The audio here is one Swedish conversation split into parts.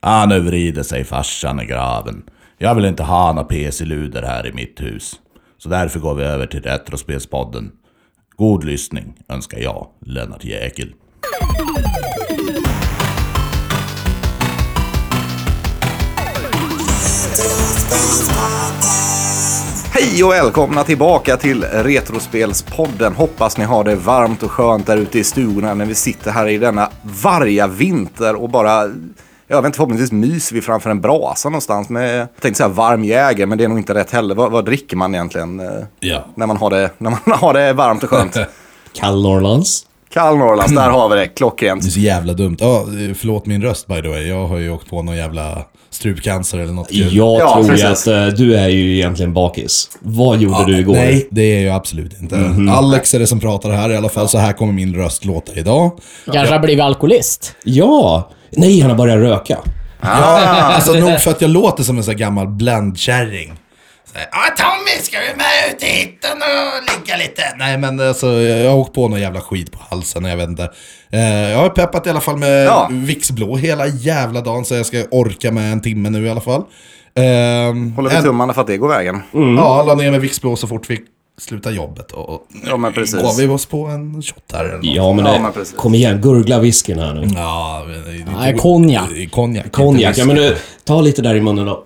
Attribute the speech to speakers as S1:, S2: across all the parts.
S1: Han övrider sig farsan i graven. Jag vill inte ha några PC-luder här i mitt hus. Så därför går vi över till Retrospelspodden. God lyssning önskar jag, Lennart Jäkel.
S2: Hej och välkomna tillbaka till Retrospelspodden. Hoppas ni har det varmt och skönt där ute i stugorna när vi sitter här i denna varga vinter och bara, jag vet inte, förhoppningsvis myser vi framför en brasa någonstans med, jag tänkte säga varm jäger, men det är nog inte rätt heller. Vad, vad dricker man egentligen eh,
S1: Ja.
S2: när, man har det, när man har det varmt och skönt?
S3: Kall Norrlands.
S2: Kall Norrlands, där har vi det, klockrent.
S4: Det är så jävla dumt. Ja, förlåt min röst by the way. Jag har ju åkt på någon jävla strupcancer eller något kul.
S3: Jag
S2: Ja,
S3: tror ju
S2: precis.
S3: att eh, du är ju egentligen bakis. Vad gjorde du igår?
S4: Nej, det är jag absolut inte. Alex är det som pratar här i alla fall, så här kommer min röst låta idag.
S5: Kanske har blivit alkoholist.
S3: Ja! Nej, han har börjat röka.
S4: Alltså nog för att jag låter som en sån här gammal bländkärring. Så här, "Ah, Tommy, ska vi med ut i hytten och ligga lite? Nej, men alltså, jag har åkt på någon jävla skit på halsen och jag vet inte. Eh, Jag har peppat i alla fall med
S2: Ja.
S4: Vixblå hela jävla dagen, så jag ska orka med en timme nu i alla fall. Ehm,
S2: Håller vi tummarna för att det går vägen.
S4: Ja, la ner med Vixblå så fort vi slutade jobbet. Och, och
S2: Ja, men precis.
S4: gav vi oss på en shot här eller något.
S3: Ja, men,
S2: Ja,
S3: eh,
S2: men precis.
S3: kom igen. Gurgla whiskyn här nu.
S4: Ja, men det är inte-
S5: Nej, konjak.
S4: Konjak. inte
S3: Konjak. Ja,
S4: whisky.
S3: men du, ta lite där i munnen då.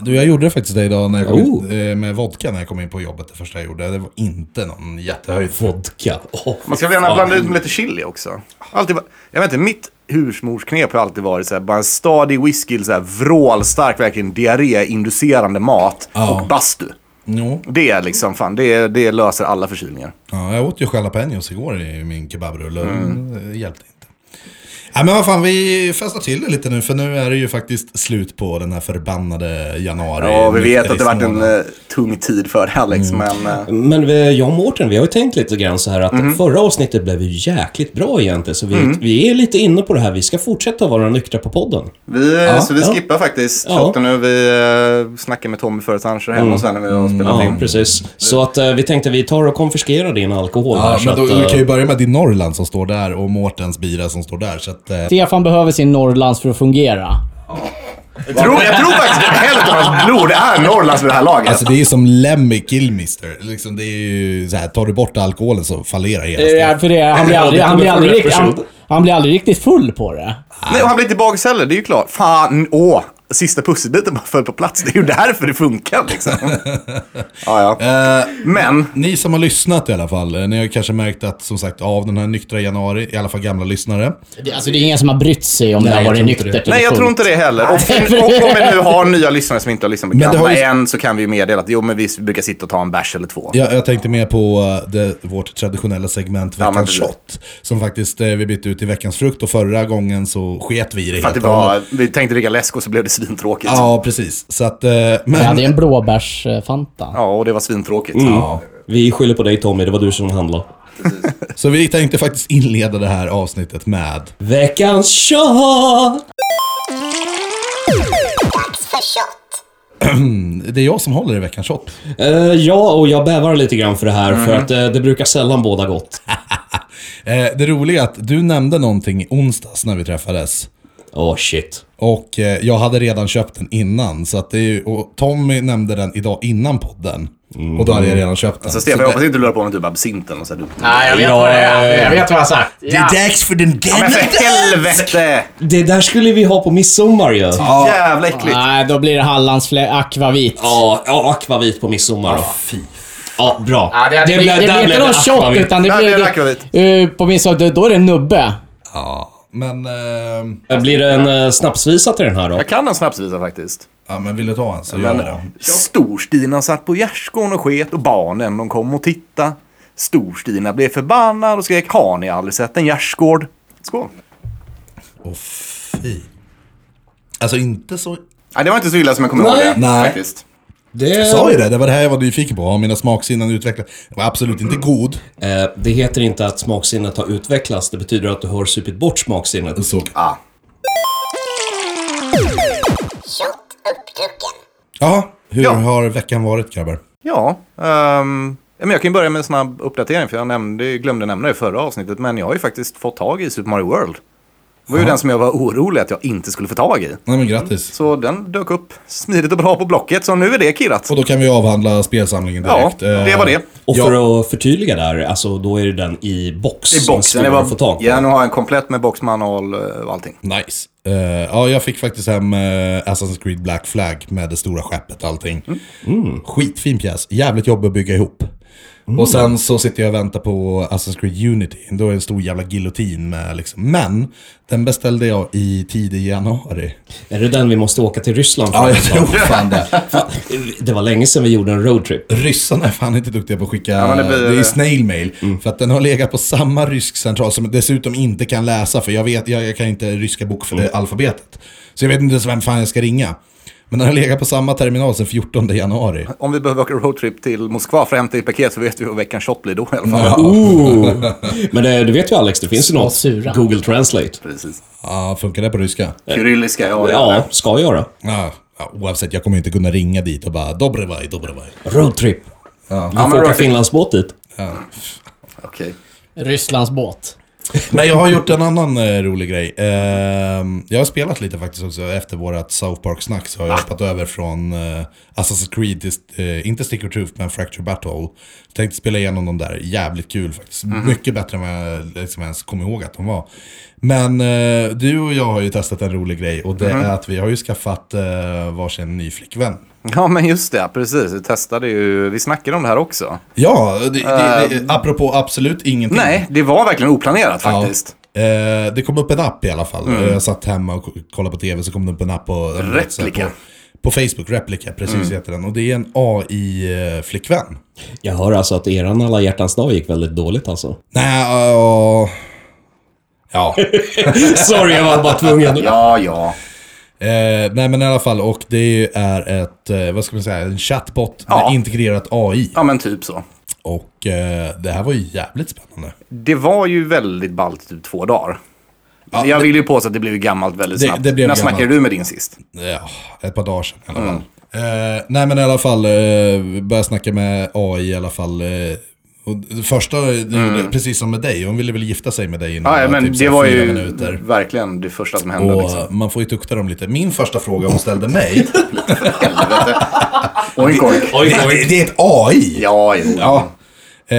S4: Du, jag gjorde det faktiskt det idag när jag kom
S3: Oh.
S4: in, eh, med vodka när jag kom in på jobbet. Det första jag gjorde. Det var inte någon jättehöjd.
S3: Vodka. Åh,
S2: Man ska väl gärna blanda ut med lite chili också. Alltid, va- jag vet inte, mitt husmorsknep har alltid varit så här, bara en stadig whisky, så här, vrålstark, verkligen diarréinducerande mat och bastu.
S4: Jo.
S2: Det är liksom, fan, det, det löser alla förkylningar.
S4: Ja, jag åt ju jalapenos igår i min kebabrulle. Mm. Det hjälpte inte. Ja, men vad fan, vi festar till det lite nu. För nu är det ju faktiskt slut på den här förbannade januari.
S2: Ja, vi vet att det varit en
S4: nykterhetsmånaden.
S2: eh, tung tid för dig Alex, men... eh,
S3: Men vi, jag och Mårten, vi har ju tänkt lite grann så här att
S2: Mhm.
S3: förra avsnittet blev ju jäkligt bra egentligen. Så vi, vi är lite inne på det här. Vi ska fortsätta vara nyktra på podden.
S2: Vi, så vi
S3: ja.
S2: skippar faktiskt
S3: Ja.
S2: shotten nu. Vi eh, snackade med Tommy förut, han kör hem och sen när vi har spelat
S3: Ja,
S2: in.
S3: precis. Så att eh, vi tänkte vi tar och konfiskerar din alkohol här.
S4: Ja,
S3: så
S4: men då,
S3: att,
S4: vi
S3: eh,
S4: kan ju börja med din Norrland som står där och Mårtens bira som står där. Så att, eh,
S5: Stefan behöver sin Norrlands för att fungera.
S2: Jag tror, jag tror faktiskt att hälften av hans blod är Norrlands vid det här laget.
S4: alltså det är ju som Lemmy i Killmister. Liksom, det är ju så här, tar du bort alkoholen så fallerar hela
S5: Ja,
S4: stället.
S5: för det, han, blir aldrig, han, blir aldrig,
S3: Ja, det
S5: rikt-
S3: kommer
S5: han, han blir aldrig riktigt full på det.
S2: Nej, och han blir inte bakis heller, det är ju klart. Fan, åh! Sista pusselbiten bara föll på plats. Det är ju därför det funkar liksom. ja, ja.
S4: Eh,
S2: Men,
S4: Ni som har lyssnat i alla fall, eh, ni har ju kanske märkt att som sagt av den här nyktra januari, i alla fall gamla lyssnare.
S5: Det- Alltså det är ingen som har brytt sig om det har
S3: jag
S5: varit
S3: tror inte
S5: nyktert
S3: det.
S5: eller
S2: nej jag
S5: fullt.
S2: tror inte det heller. Och, och om vi nu har nya lyssnare som inte har lyssnat på
S4: Men det
S2: gamla
S4: har ju-
S2: än så kan vi ju meddela att jo men vi brukar sitta och ta en bärs eller två.
S4: Jag, jag tänkte mer på eh, det, vårt traditionella segment
S2: men
S4: veckans
S2: precis.
S4: shot. Som faktiskt eh, vi bytte ut till veckans frukt och förra gången så sket vi i det
S2: För att det
S4: och hållet.
S2: var, vi tänkte dricka läsk och så blev det svintråkigt.
S4: Ja, precis. Så att, eh, men...
S5: Ja, det är en blåbärsfanta.
S2: Ja, och det var svintråkigt.
S4: Ja.
S3: Vi skyller på dig Tommy, det var du som handlade.
S4: Så vi tänkte faktiskt inleda det här avsnittet med
S3: Veckans shot!
S4: Det är jag som håller i veckans shot.
S3: Eh, ja, och jag bävar lite grann för det här, för att eh, det brukar sällan båda gott.
S4: Eh, det roliga är att du nämnde någonting i onsdags när vi träffades.
S3: Åh shit.
S4: Och eh, jag hade redan köpt den innan. Så att det är ju, och Tommy nämnde den idag innan podden. Och då hade jag redan köpt den.
S2: Så Mm. Alltså, Stefan, jag
S4: det-
S2: hoppas inte du la på någon typ absinten och så här dumt.
S5: Nej, jag vet vad det är. Jag vet vad jag har sagt.
S4: dags för den
S2: Men för helvete!
S3: Det där skulle vi ha på midsommar ju. Ja,
S2: Jävla äckligt.
S5: Nej, då blir det Hallandsflä... Akvavit.
S3: ja, akvavit på midsommar då. Fy. Ja, bra.
S5: Ja, det, det,
S3: blev- där
S5: det, blir inte
S3: blev
S5: någon
S3: det
S5: shot,
S3: akvavit.
S5: utan det
S2: Nej, det
S5: blir...
S2: är en akvavit.
S5: Eh, på min sak, då- då är det en nubbe.
S4: Ja, men, eh,
S3: Eh, Blir det en eh, snapsvisa till den här då?
S2: Jag kan en snapsvisa faktiskt.
S4: ja, men vill du ta en så gör jag det.
S2: Storstina satt på gärdsgården och sket och barnen de kom och titta. Storstina blev förbannad och skrek har ni aldrig sett en gärdsgård? Skål.
S4: Åh fy. Alltså inte så...
S2: Nej, det var inte så illa som jag kommer ihåg
S3: Nej.
S2: det.
S4: Nej.
S2: Faktiskt.
S4: Jag sa ju det, det var det här jag var nyfiken på. Har mina smaksinnen utvecklats? Det var absolut inte god.
S3: Eh, det heter inte att smaksinnet har utvecklats, det betyder att du har supit bort smaksinnet.
S4: Så,
S2: Ah.
S4: ja, hur
S2: Ja.
S4: har veckan varit grabbar?
S2: Ja, ehm, ja, men jag kan ju börja med en snabb uppdatering för jag nämnde, glömde nämna det i förra avsnittet men jag har ju faktiskt fått tag i Super Mario World. Det var ju den som jag var orolig att jag inte skulle få tag i.
S4: Nej men grattis.
S2: Så den dök upp smidigt och bra på Blocket, så nu är det kirrat.
S4: Och då kan vi avhandla spelsamlingen
S2: Ja,
S4: direkt. Eh,
S2: det var det.
S3: Och för att förtydliga där, alltså då är det den i box.
S2: I
S3: som är
S2: boxen.
S3: svårare
S2: Det var,
S3: att få tag på.
S2: ja, nu har jag en komplett med boxmanual eh, och allting.
S4: Nice. Eh, ja, jag fick faktiskt hem eh, Assassin's Creed Black Flag med det stora skeppet och allting. Mm. Skitfin pjäs. Jävligt jobbig att bygga ihop. Och sen så sitter jag och väntar på Assassin's Creed Unity. Då är det en stor jävla giljotin med liksom. Men den beställde jag i tidig januari.
S3: Är det den vi måste åka till Ryssland för?
S4: Ja, jag tror fan det.
S3: Det var länge sedan vi gjorde en roadtrip.
S4: Ryssarna är fan inte duktiga på att skicka,
S2: men det Mm.
S4: det,
S2: blir-
S4: är snail mail. För att den har legat på samma rysk central som jag dessutom inte kan läsa för jag vet, jag, jag kan inte ryska bok för alfabetet. Så jag vet inte ens vem fan jag ska ringa. Men den har legat på samma terminal sedan 14 januari.
S2: Om vi behöver åka roadtrip till Moskva för att hämta i paket så vet vi vad veckans shot blir då i alla fall.
S3: Ooh. Men det, du vet ju Alex, det finns ju
S5: Så
S3: något.
S5: sura.
S3: Google Translate.
S2: Precis.
S4: Ja, funkar det på ryska?
S2: Kyrilliska, ja.
S3: Ja, ska göra.
S4: Ja, ja, oavsett, jag kommer inte kunna ringa dit och bara Dobrevaj, Dobrevaj.
S3: Roadtrip. Vi
S2: men
S3: får åka
S2: roadtrip.
S3: Finlandsbåt dit.
S2: Okej.
S5: Rysslands båt.
S4: Men jag har gjort en annan eh, rolig grej. Ehm, jag har spelat lite faktiskt också. Efter vårat South Park-snack så har jag hoppat över från eh, Assassin's Creed till, eh, inte Stick of Truth, men Fracture Battle. Tänkte spela igenom de där, jävligt kul faktiskt. Mycket bättre än vad jag liksom ens kom ihåg att de var. Men eh, du och jag har ju testat en rolig grej och det är att vi har ju skaffat eh, varsin ny flickvän.
S2: Ja, men just det. Precis. Vi testade ju. Vi snackade om det här också.
S4: Ja, det, det, det, apropå absolut ingenting.
S2: Nej, det var verkligen oplanerat faktiskt. Mm.
S4: Ja. Eh, det kom upp en app i alla fall. Jag satt hemma och k- kollade på tv så kom det upp en app på...
S2: Replika. Mm.
S4: På, på Facebook, Replika, precis heter den. Och det är en AI-flickvän.
S3: Jag hör alltså att eran alla hjärtans dag gick väldigt dåligt alltså.
S4: Nej, ja... ja.
S3: Sorry, jag var bara tvungen.
S2: Ja, ja.
S4: Eh, nej men i alla fall, och det är ett, eh, vad ska man säga, en chatbot
S2: Ja.
S4: med integrerat AI.
S2: Ja, men typ så.
S4: Och eh, det här var ju jävligt spännande.
S2: Det var ju väldigt ballt i typ två dagar. jag vill ju påstå att det blev ju gammalt väldigt
S4: Det-
S2: snabbt.
S4: det blev
S2: När
S4: gammalt.
S2: snackade du med din sist?
S4: ja, ett par dagar sedan i alla fall.
S2: Mm.
S4: Eh, nej men i alla fall, eh, började snacka med AI i alla fall. Eh, och det första, det gjorde- precis som med dig, hon ville väl gifta sig med dig inom
S2: Mm. Ja, ja,
S4: eh,
S2: men
S4: typ så
S2: det
S4: här
S2: var
S4: fyra
S2: ju
S4: minuter.
S2: verkligen det första som hände.
S4: Och
S2: Liksom.
S4: man får ju tukta dem lite. Min första fråga hon ställde mig,
S2: Oink, oink.
S4: det, det, det är ett AI!
S2: Ja, jo.
S4: Ja. Eh,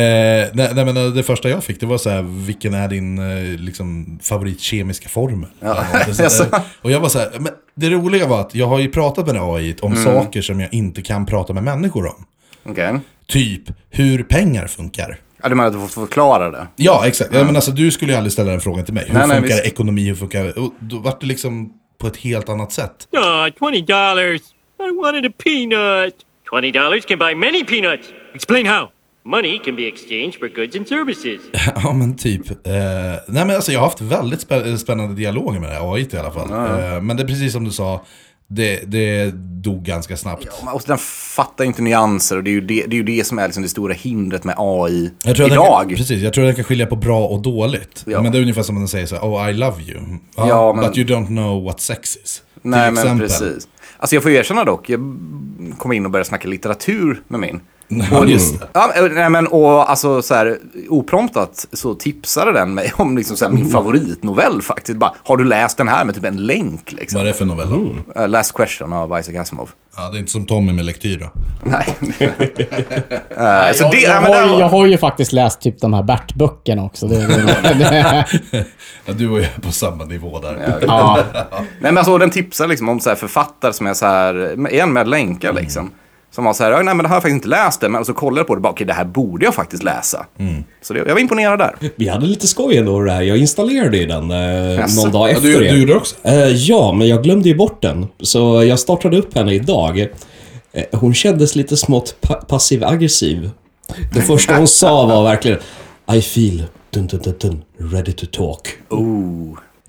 S4: nej, nej, men eh, det första jag fick det var så här, vilken är din eh, liksom, favoritkemiska formel? Eller något. Så där. och jag var så här, men det roliga var att jag har ju pratat med AI om
S2: Mm.
S4: saker som jag inte kan prata med människor om.
S2: Okej.
S4: Typ hur pengar funkar.
S2: Ja, du menar att du får förklara det?
S4: Ja, exakt. Ja, men alltså, du skulle ju aldrig ställa den frågan till mig. Hur
S2: Nej, nej,
S4: funkar
S2: visst.
S4: ekonomi? Hur funkar... Och då vart det liksom på ett helt annat sätt.
S6: Ah, twenty dollars. I wanted a peanut. Twenty dollars can buy many peanuts. Explain how. Money can be exchanged for goods and services.
S4: ja, men typ. Eh, nej, men alltså, jag har haft väldigt spä- spännande dialoger med det här AI i alla fall. Eh, men det är precis som du sa, det, det dog ganska snabbt.
S2: Och den fattar ju inte nyanser och det är ju det, det, är ju det som är liksom det stora hindret med AI
S4: Jag tror att den
S2: idag.
S4: Kan, precis, jag tror att den kan skilja på bra och dåligt.
S2: Ja.
S4: Men det är ungefär som när den säger så här, oh I love you. Ah,
S2: Ja, men-
S4: But you don't know what sex is. Till
S2: Nej, men
S4: exempel.
S2: precis. Alltså jag får ju erkänna dock, jag kom in och började snacka litteratur med min.
S4: Ja, just det.
S2: Ja, men- nej, men och alltså så här, opromptat så tipsade den mig om liksom så här,
S4: Mm.
S2: min favoritnovell faktiskt. Bara, har du läst den här med typ en länk liksom?
S4: Vad är det för novell?
S2: Eh, Last question av Isaac Asimov.
S4: Ja, det är inte som Tommy med lektyr då.
S2: Nej.
S5: Nej,
S2: så
S5: jag,
S2: det-
S5: jag,
S2: nej, men
S5: har,
S2: det
S5: ju-
S2: var-
S5: jag har ju faktiskt läst typ de här Bert-böckerna också. Det, det, det,
S4: Ja, du och jag är på samma nivå där.
S5: ja.
S2: Nej men alltså den tipsar liksom om så här författare som är så här, igen med länkar liksom. Som var så här, "Ja, nej men det här har jag faktiskt inte läst det, men så kollade jag på det och bara, okej det här borde jag faktiskt läsa. Så det, jag var imponerad där.
S3: Vi hade lite skoj ändå det här. Jag installerade ju den eh,
S2: Jaså?
S3: någon dag
S4: Ja,
S3: efter
S4: du,
S3: er.
S4: du gjorde också?
S3: Eh, ja, men jag glömde ju bort den. Så jag startade upp henne idag. Eh, hon kändes lite smått pa- passiv-aggressiv. Det första hon sa var verkligen I feel dun, dun, dun, dun, ready to talk.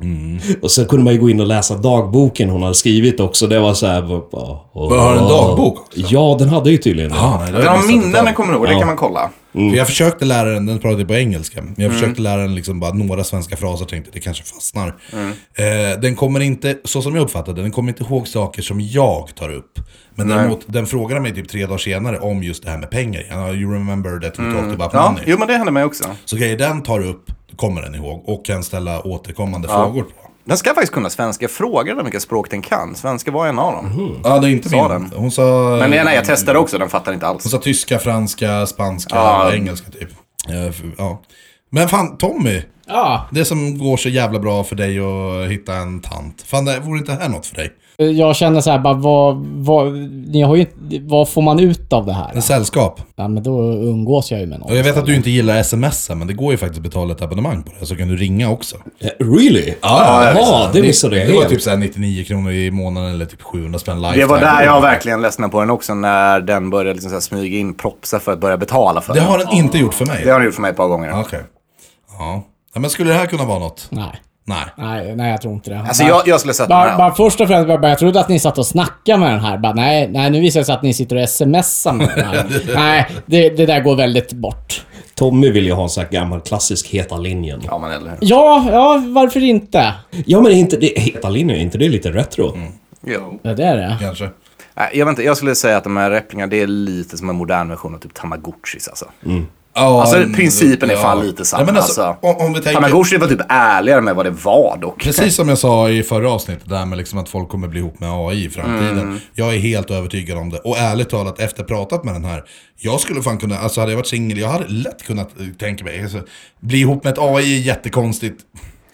S2: Oh.
S3: Och sen kunde man ju gå in och läsa dagboken hon hade skrivit också. Det var så här... bara, åh.
S4: Har den dagbok också?
S3: Ja, den hade ju tydligen det.
S4: Ah, nej, det har
S2: Den
S4: jag
S2: har
S4: missat
S2: minnen,
S4: totalt.
S2: kommer du ihåg, det kan man kolla.
S4: För jag försökte lära den, den pratade på engelska. Jag
S2: Mm.
S4: försökte lära den liksom bara några svenska fraser tänkte det kanske fastnar.
S2: Mm.
S4: Eh, den kommer inte, så som jag uppfattade den kommer inte ihåg saker som jag tar upp. Men däremot, den frågade mig typ tre dagar senare om just det här med pengar. Ja, You remember that we talked about
S2: Mm. Ja,
S4: money.
S2: jo men det hände mig också.
S4: Så grejer den tar upp, kommer den ihåg och kan ställa återkommande frågor på.
S2: Den ska faktiskt kunna svenska. Fråga den vilka språk den kan. Svenska var en av dem.
S4: Ja, det är inte
S2: Sa
S4: min.
S2: den.
S4: Hon sa...
S2: Men nej, nej, jag testade också. Den fattar inte alls.
S4: Hon sa tyska, franska, spanska,
S2: Ja.
S4: engelska typ. Eh, f- Ja. Men fan, Tommy.
S5: Ja,
S4: Det som går så jävla bra för dig att hitta en tant. Fan, det vore inte det här något för dig?
S5: Eh, jag känner så här bara, vad, vad, ni har ju, inte- vad får man ut av det här?
S2: Mm.
S4: En sällskap.
S5: Ja, men då umgås jag ju med någon.
S4: Och jag vet att du inte gillar sms, men det går ju faktiskt att betala ett abonnemang på det. Så kan du ringa också.
S3: Eh, Really?
S4: Ja,
S3: Jaha, det missade jag
S4: Det var
S3: helt.
S4: typ såhär 99 kronor i månaden eller typ 700 spänn lifetime.
S2: Det var där jag verkligen ledsnade på den också. När den började liksom så här smyga in propsar för att börja betala för
S4: Det
S2: den.
S4: har den inte gjort för mig.
S2: Det har den gjort för mig ett par gånger.
S4: Okej. Ja. ja. Men skulle det här kunna vara något?
S5: Nej.
S4: Nej.
S5: Nej, nej, jag tror inte det.
S2: Alltså jag, jag skulle säga att den
S5: Bara,
S2: här...
S5: bara först och främst, bara, bara, jag trodde att ni satt och snackade med den här. Bara, nej, nej, nu visar det sig att ni sitter och smsar med den här. nej, det, det där går väldigt bort.
S3: Tommy vill ju ha en sån här gammal klassisk Heta linjen.
S2: Ja, men eller hur.
S5: Ja, ja, varför inte?
S3: Ja, men är inte det, Heta linjen, är inte det lite retro?
S2: Jo.
S5: Ja, det är det.
S4: Kanske.
S2: Nej, jag, vet inte, jag skulle säga att de här repplingarna, det är lite som en modern version av typ tamagotchis alltså.
S4: Mm. Ja,
S2: Alltså,
S4: en-
S2: principen är fan lite samma,
S4: men
S2: alltså.
S4: om, om vi tänker,
S2: Tamagotchi var typ ärligare med vad det var dock.
S4: Precis som jag sa i förra avsnittet, där med liksom att folk kommer bli ihop med AI i framtiden. Jag är helt övertygad om det. Och ärligt talat, efter pratat med den här, jag skulle fan kunna, alltså hade jag varit singel, jag hade lätt kunnat eh, tänka mig, alltså, bli ihop med ett AI är jättekonstigt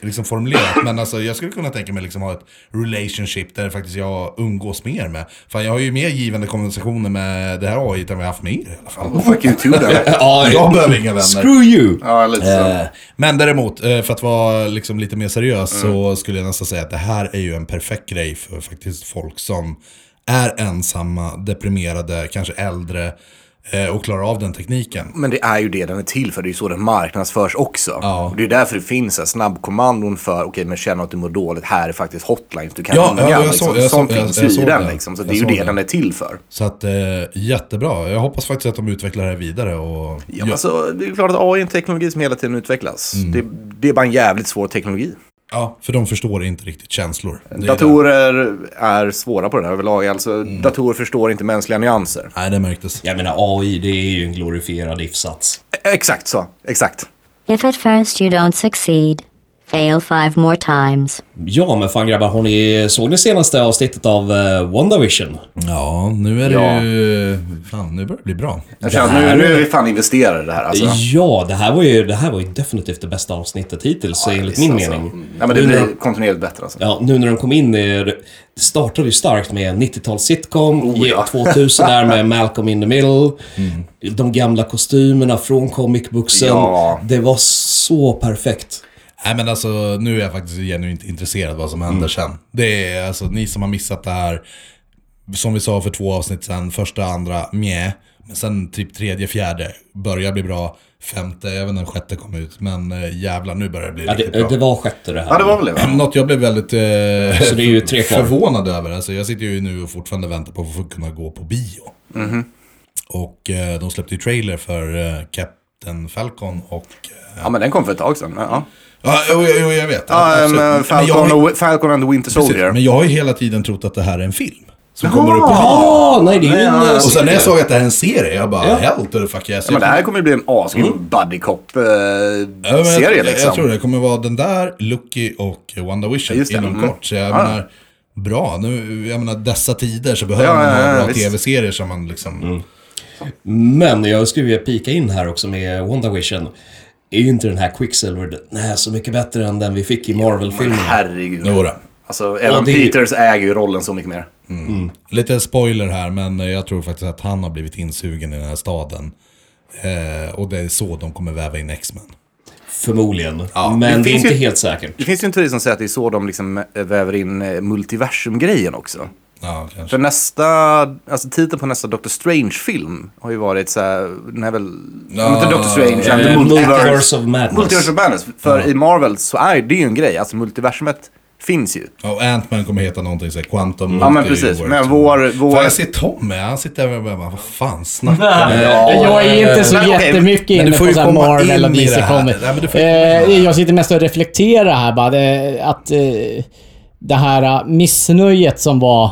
S4: liksom formulerat, men alltså jag skulle kunna tänka mig liksom ha ett relationship där faktiskt jag umgås mer med. Fan jag har ju mer givande konversationer med det här AI än vad jag haft med er i alla fall.
S2: Fuck you too then.
S4: Jag behöver inga vänner.
S3: Screw you!
S2: Ja, lite så.
S4: Eh, Men däremot, eh, för att vara liksom lite mer seriös så skulle jag nästan säga att det här är ju en perfekt grej för faktiskt folk som är ensamma, deprimerade, kanske äldre eh, och klarar av den tekniken.
S2: Men det är ju det den är till för. Det är ju så den marknadsförs också.
S4: Ja.
S2: Och det är därför det finns så här snabbkommandon för, okej men känner att du mår dåligt, här är faktiskt hotlines du kan
S4: Ja,
S2: ringa.
S4: ja, jag
S2: liksom.
S4: såg- jag
S2: Sånt
S4: såg- jag-
S2: finns
S4: jag
S2: ju i
S4: såg
S2: den
S4: det.
S2: liksom. Så
S4: Jag
S2: det är ju
S4: såg
S2: det
S4: det.
S2: den är till för.
S4: Så att eh, jättebra. Jag hoppas faktiskt att de utvecklar det här vidare. Och,
S2: Ja, men Alltså, det är ju klart att AI är en teknologi som hela tiden utvecklas.
S4: Mm.
S2: Det, det är bara en jävligt svår teknologi.
S4: ja, för de förstår inte riktigt känslor. Det är Mm. det.
S2: Datorer är svåra på det här överlag. Alltså, Datorer förstår inte mänskliga nyanser.
S4: Nej, det märktes.
S3: Jag menar, AI, det är ju en glorifierad ifsats.
S2: E- Exakt så. Exakt.
S7: If at first you don't succeed, fail five more times.
S3: Ja, men fan grabbar, har ni, såg ni senaste avsnittet av eh, WandaVision?
S4: Ja, nu är det
S2: Ja.
S4: ju... Fan, nu börjar det bli bra.
S2: Jag känner att nu, nu är vi fan investerade i det här alltså.
S3: Ja, det här var ju, det här var ju definitivt det bästa avsnittet hittills, enligt min
S2: alltså.
S3: mening.
S2: Ja, men det
S3: Nu när de-
S2: blir kontinuerligt bättre alltså.
S3: Ja, nu när de kom in i... Det startade ju starkt med 90-tals sitcom,
S2: Oh, ja.
S3: 2000 där med Malcolm in the middle. De gamla kostymerna från comic booksen.
S2: Ja.
S3: Det var så perfekt.
S4: Nej men alltså nu är jag faktiskt genuint intresserad vad som händer
S3: Mm.
S4: sen. Det är alltså ni som har missat det här, som vi sa för två avsnitt sen, första, andra, mjä. Men sen typ tredje, fjärde börjar bli bra. Femte, jag vet inte om sjätte kom ut, men eh, jävlar nu börjar det bli
S3: Ja,
S4: riktigt
S3: det,
S4: bra.
S3: det var sjätte det här.
S2: Ja, det var väl det va?
S4: Något jag blev väldigt eh,
S3: Så det är ju tre kvar.
S4: förvånad över. Alltså, jag sitter ju nu och fortfarande väntar på att få kunna gå på bio.
S3: Mm-hmm.
S4: Och eh, de släppte ju trailer för eh, Captain Falcon och... Eh,
S2: Ja, men den kom för ett tag sedan. Men, ja.
S4: ja, jo, jo, jag vet.
S2: Ja,
S4: absolut.
S2: men
S4: Men jag har
S2: Falcon, och, Falcon and the Winter
S4: Precis,
S2: Soldier.
S4: men jag har ju hela tiden trott att det här är en film. Som kommer upp i ja.
S3: Ja, nej det är ju en... eh,
S4: Och sen när jag såg att det här är en serie, jag bara hell to the fuck yes.
S2: Ja, men det här kommer ju bli en asgrym buddy
S4: Mm. Ja, men jag-
S2: cop-serie
S4: jag,
S2: liksom.
S4: jag tror det kommer vara den där, Lucky och Wanda Vision
S2: just det,
S4: inom
S2: mm.
S4: kort. Så jag menar, bra. Nu, jag menar dessa tider så behöver
S2: Ja,
S4: man
S2: ja, ja,
S4: ha bra
S2: visst.
S4: tv-serier som man liksom...
S3: Men jag skulle vilja pika in här också med WandaVision. Är ju inte den här Quicksilver nej, så mycket bättre än den vi fick i Marvel-filmen.
S2: Herregud.
S4: Jo då.
S2: Alltså, Evan
S3: det är ju-
S2: Peters äger ju rollen så mycket mer.
S4: Lite spoiler här, men jag tror faktiskt att han har blivit insugen i den här staden. Eh, och det är så de kommer väva in X-Men.
S3: Förmodligen.
S2: det
S3: men det är
S2: finns
S3: inte
S2: ju-
S3: helt säkert.
S2: Det finns ju en teori som säger att det är så de liksom eh, väver in eh, multiversum-grejen också.
S4: Ja, kanske.
S2: För nästa, alltså titeln på nästa Doctor Strange-film har ju varit så här, den är väl, om inte Doctor Strange,
S3: eh,
S2: utan The
S3: Multiverse of Madness.
S2: Multiverse of Madness. För i Marvel så är det ju en grej, alltså multiversumet finns ju.
S4: Och Ant-Man kommer heta någonting såhär Quantum
S2: Ja men
S4: Multiverse.
S2: precis, men vår, vår...
S4: Fan, jag ser Tommy, han sitter där och bara, vad fan snackar du om?"
S5: Jag är inte så
S2: men okej,
S5: jättemycket
S4: eh, men
S5: inne
S4: du får
S5: på
S4: ju
S5: så här
S4: komma
S5: Marvel
S4: in
S5: och
S4: i det
S5: DC
S4: här.
S5: Comics.
S4: Nej, men du får ju komma in i det
S5: Eh,
S4: här.
S5: jag sitter mest och reflekterar här bara. Det, att eh, det här eh, missnöjet som var...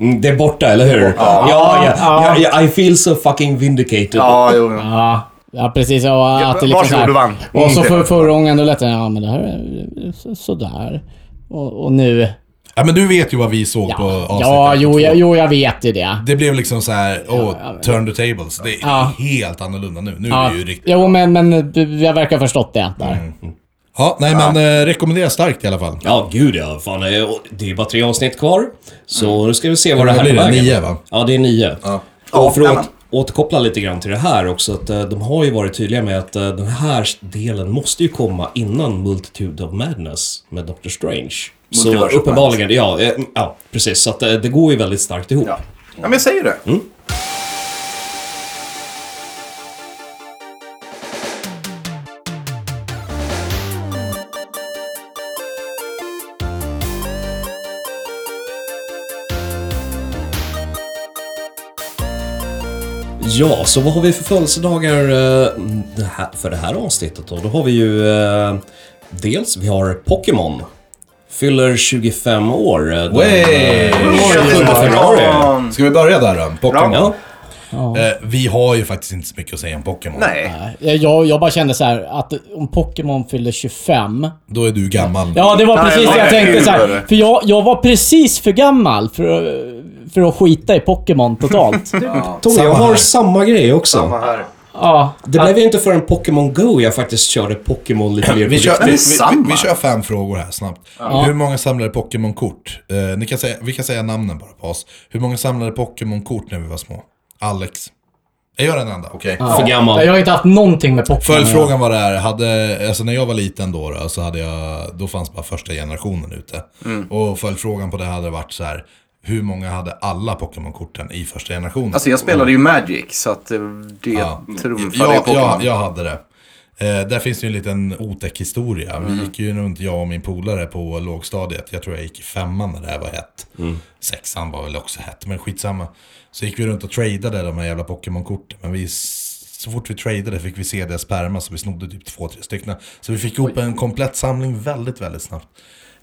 S3: Mm, Det är borta, eller hur? Ja, ja, ja, ja. I feel so fucking vindicated.
S2: Ja, jo.
S5: Ja, ja precis. Och att det liksom
S2: varsågod,
S5: så här,
S2: du vann.
S5: Och så
S2: Mm.
S5: för, förra gången då lät det, ja men det här är så- sådär. Och, och nu...
S4: Ja, men du vet ju vad vi såg på
S5: Ja,
S4: avsnitt
S5: ja
S4: ett och
S5: jo,
S4: två.
S5: jag, jo, jag vet ju det.
S4: Det blev liksom så här, åh, turn the tables. Det är
S5: Ja.
S4: helt annorlunda nu. Nu är
S5: Ja,
S4: det ju riktigt... Mm.
S5: jo, men, men eh, jag verkar ha förstått det. Där.
S4: Ja, nej men eh, rekommenderar starkt i alla fall.
S3: Ja, gud ja. Fan, det är- det är ju bara tre avsnitt kvar. Så nu ska vi se vad det
S4: Mm. Vad
S3: här
S4: blir
S3: tar
S4: det?
S3: vägen.
S4: Nio, va?
S3: Ja, det är nio.
S2: Ja,
S3: Och för att
S2: nämen.
S3: återkoppla lite grann till det här också, att eh, de har ju varit tydliga med att eh, den här delen måste ju komma innan Multitude of Madness med Doctor Strange. Så
S2: Multiverse of
S3: uppenbarligen, ja, eh, ja, precis. Så att eh, det går ju väldigt starkt ihop.
S2: Ja. ja, men jag säger det.
S3: Mm. Ja, så vad har vi för födelsedagar eh, det här, för det här avsnittet då? Då har vi ju eh, dels, vi har Pokémon. Fyller 25 år. eh, den,
S4: Way!
S3: eh, 27 februari.
S4: Ska vi börja där då? Pokémon.
S3: Ja,
S4: Eh, vi har ju faktiskt inte så mycket att säga om Pokémon.
S2: Nej.
S5: Jag- Jag, jag bara kände så här att om Pokémon fyller 25...
S4: Då är du gammal.
S5: Ja, det var
S2: Nej,
S5: precis det jag
S2: nej,
S5: tänkte.
S2: gud,
S5: Så här,
S2: vad
S5: för jag, jag var precis för gammal för, att- för att skita i Pokémon totalt.
S3: Tony, jag
S4: Samma
S3: har
S4: här.
S3: samma grej också.
S2: här.
S5: Ja.
S3: Det blev ju inte förrän Pokémon Go jag faktiskt körde Pokémon lite mer på
S4: Vi kör,
S3: riktigt.
S4: vi,
S2: det är
S4: vi, vi,
S2: samma.
S4: vi kör fem frågor här snabbt. Hur många samlade Pokémon-kort? Eh, ni kan säga, vi kan säga namnen bara på oss. Hur många samlade Pokémon-kort när vi var små? Alex. Jag gör en enda, okej.
S3: För gammal.
S5: Jag har inte haft någonting med Pokémon att göra.
S4: Följdfrågan var det här, hade, alltså när jag var liten då, då, så hade jag, då fanns bara första generationen ute. Och följdfrågan på det hade varit så här, hur många hade alla Pokémon-korten i första generationen?
S2: Alltså jag spelade ju Magic så att eh, det trumfade
S4: ja, ja,
S2: Pokémon.
S4: jag hade det. Eh, där finns det ju en liten otäck historia. Vi gick ju runt, jag och min polare, på lågstadiet. Jag tror jag gick i femman när det här var hett. Sexan var väl också hett, men skitsamma. Så gick vi runt och tradeade de här jävla Pokémon-korten. Men vi, så fort vi tradeade fick vi se deras sperma, så vi snodde typ två, tre stycken. Så vi fick ihop en komplett samling väldigt, väldigt snabbt.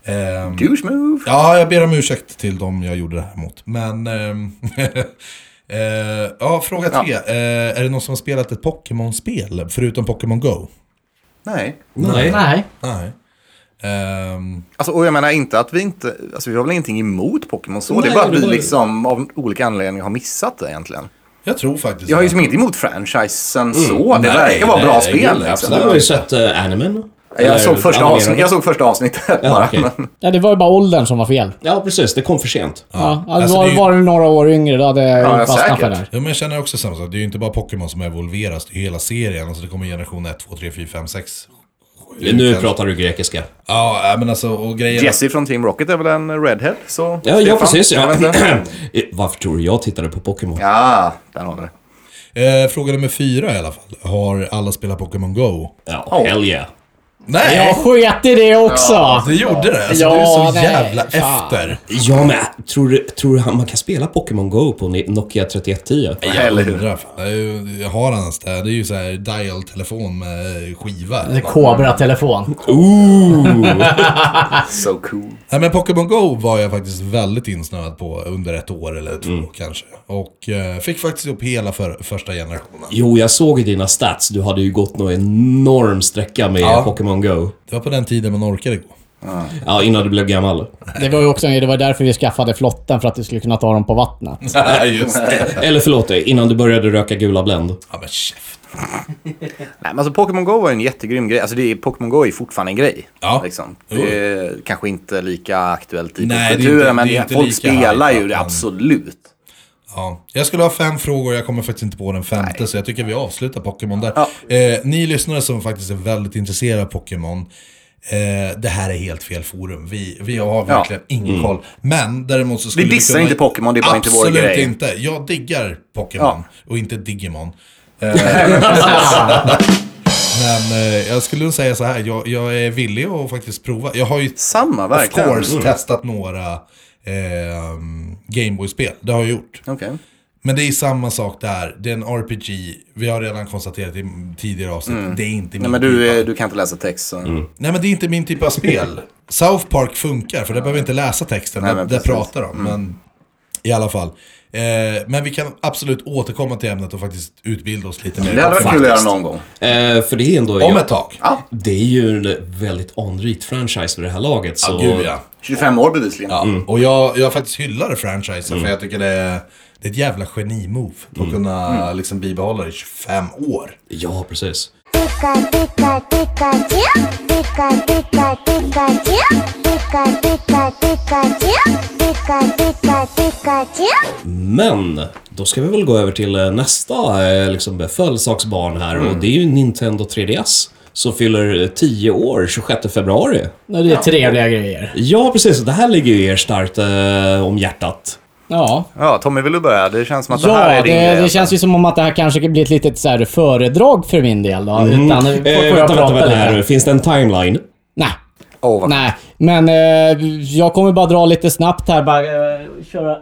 S4: Ehm,
S2: Douche move.
S4: Ja, jag ber om ursäkt till dem jag gjorde det här mot. Men... ehm, eh, ja, fråga tre. Eh, är det någon som har spelat ett Pokémon-spel förutom Pokémon Go?
S2: Nej.
S3: Nej.
S5: Nej.
S4: Nej. Ehm,
S2: Alltså, och jag menar inte att vi inte, alltså vi har väl ingenting emot Pokémon så. det
S3: Nej,
S2: är bara att
S3: det
S2: vi
S3: var-
S2: liksom av olika anledningar har missat det egentligen.
S4: jag tror faktiskt
S2: Jag har ju
S4: det.
S2: som inget emot franchisen så. Det
S4: Mm. nej,
S2: verkar vara bra
S4: nej,
S2: spel.
S4: gud,
S2: liksom.
S3: Sen har vi ju sett uh, Animen. Eller
S2: Jag såg, första
S3: animerade.
S2: avsnitt, jag såg första avsnittet
S3: Ja,
S2: bara.
S3: okej.
S2: men-
S5: Ja, det var ju bara åldern som var fel.
S3: Ja, precis. Det kom för sent.
S5: Ja. Ja,
S4: Alltså,
S5: var,
S4: det är ju-
S5: var du några år yngre, då hade jag
S2: ja,
S5: fastnat för det
S2: säkert.
S5: här.
S4: Ja, men jag känner också samma sak. Det är ju inte bara Pokémon som evolveras, det är ju hela serien. Alltså det kommer generation 1, 2, 3, 4, 5, 6.
S3: Nu pratar du grekiska.
S4: Ja, men alltså och grejen...
S2: Jesse från Team Rocket är väl en redhead? Så
S3: Ja, ja
S2: Stefan,
S3: precis.
S2: jag
S3: Ja.
S2: vet inte.
S3: Varför tror du jag tittade på Pokémon?
S2: ja, där har vi det.
S4: Eh, fråga nummer fyra i alla fall. Har alla spelat Pokémon Go?
S3: Ja, hell yeah.
S4: Nej!
S5: Jag sket i det också!
S4: Du gjorde det? Alltså, du är
S5: Ja,
S4: så
S5: nej,
S4: jävla
S5: fan.
S4: efter.
S3: Ja, men äh, tror du, tror du han- man kan spela Pokémon Go på Ni- Nokia 3110?
S2: Eller hur?
S4: Undrar, fan. Det är ju- Jag har han ens det? här? Det är ju så här dial-telefon med skiva.
S5: Det är Kobra-telefon.
S2: So cool.
S4: Nej men Pokémon Go var jag faktiskt väldigt insnöad på under ett år eller två kanske. Och eh, fick faktiskt upp hela för, första generationen.
S3: Jo, jag såg i dina stats. Du hade ju gått någon enorm sträcka med Pokémon Go.
S4: Det var på den tiden man orkade gå.
S3: Ja, innan du blev gammal.
S5: Det var ju också det var därför vi skaffade flotten, för att vi skulle kunna ta dem på vattnet.
S4: Nej just det.
S3: Eller förlåt dig, innan du började röka gula Blend.
S4: Ja men käft.
S2: Nej, men alltså Pokémon Go var en jättegrym grej. Alltså det är, Pokémon Go är fortfarande en grej.
S4: Ja.
S2: Liksom.
S4: Jo.
S2: Det är kanske inte lika aktuellt i
S4: Nej, det är
S2: kulturen,
S4: inte-
S2: men
S4: det är inte
S2: folk
S4: lika
S2: spelar
S4: hype,
S2: ju det
S4: men-
S2: absolut.
S4: Ja. Jag skulle ha fem frågor, jag kommer faktiskt inte på den femte så jag tycker vi avslutar Pokémon där. Eh, ni lyssnare som faktiskt är väldigt intresserade av Pokémon, eh, det här är helt fel forum. Vi, vi har verkligen ingen koll. Men däremot så skulle
S2: Vi dissar inte Pokémon, det är bara inte vår
S4: Absolut
S2: grej.
S4: inte. Jag diggar Pokémon och inte Digimon. Eh, Men eh, jag skulle nog säga så här, jag, jag är villig att faktiskt prova. Jag har ju
S2: Samma,
S4: of
S2: verkligen. Mm.
S4: course testat några eh, Gameboy-spel. Det har jag gjort.
S2: Okej.
S4: Men det är samma sak där. Det är en RPG. Vi har redan konstaterat i tidigare avsnitt. Det är inte min
S2: Mm. Nej, men
S4: typ
S2: du,
S4: av-
S2: eh, du kan inte läsa text. Så.
S4: Nej men det är inte min typ av spel. South Park funkar för där behöver jag inte läsa texten.
S2: Nej,
S4: där
S2: men
S4: där
S2: precis. Mm.
S4: pratar de. Men I alla fall. Eh, men vi kan absolut återkomma till ämnet och faktiskt utbilda oss lite mer.
S2: Det hade varit kul att göra
S3: Faktiskt.
S2: någon gång.
S3: Eh, för det är ändå...
S4: Om ett tag.
S2: Ja,
S3: Det är ju en väldigt anrikt franchise för det här laget. Så...
S4: Ja, gud ja.
S2: 25 år bevisligen.
S4: ja. Och jag, jag faktiskt hyllar franchisen för jag tycker det är, det är ett jävla genimove. Att kunna
S2: Mm.
S4: liksom bibehålla det i 25 år.
S3: Ja, precis.
S8: Pika, pika, Pikachu. Pika, pika, Pikachu. Pika, pika, Pikachu. Pika, pika, Pikachu.
S3: Men, då ska vi väl gå över till eh, nästa eh, liksom, födelsedagsbarn här och
S5: Mm.
S3: det är ju Nintendo 3DS. Som fyller eh, 10 år 26 februari.
S5: Nej, Det är trevliga grejer.
S3: Ja, precis. Det här ligger ju er starkt eh, om hjärtat.
S5: Ja.
S2: Ja, Tommy, vill du börja? Det känns som att det
S5: Ja,
S2: här är
S5: det,
S2: din
S5: det,
S2: grej. alltså.
S5: känns ju som om att det här kanske blir ett litet så här, föredrag för min del. Då,
S2: Mm.
S5: utan, får, får
S3: Eh,
S5: jag
S3: vänta, vänta,
S5: prata
S3: vänta här
S5: lite?
S3: nu. Finns det en timeline?
S5: Nej.
S2: Åh, vad-
S5: Nej, men eh, jag kommer bara dra lite snabbt här. Bara, eh, köra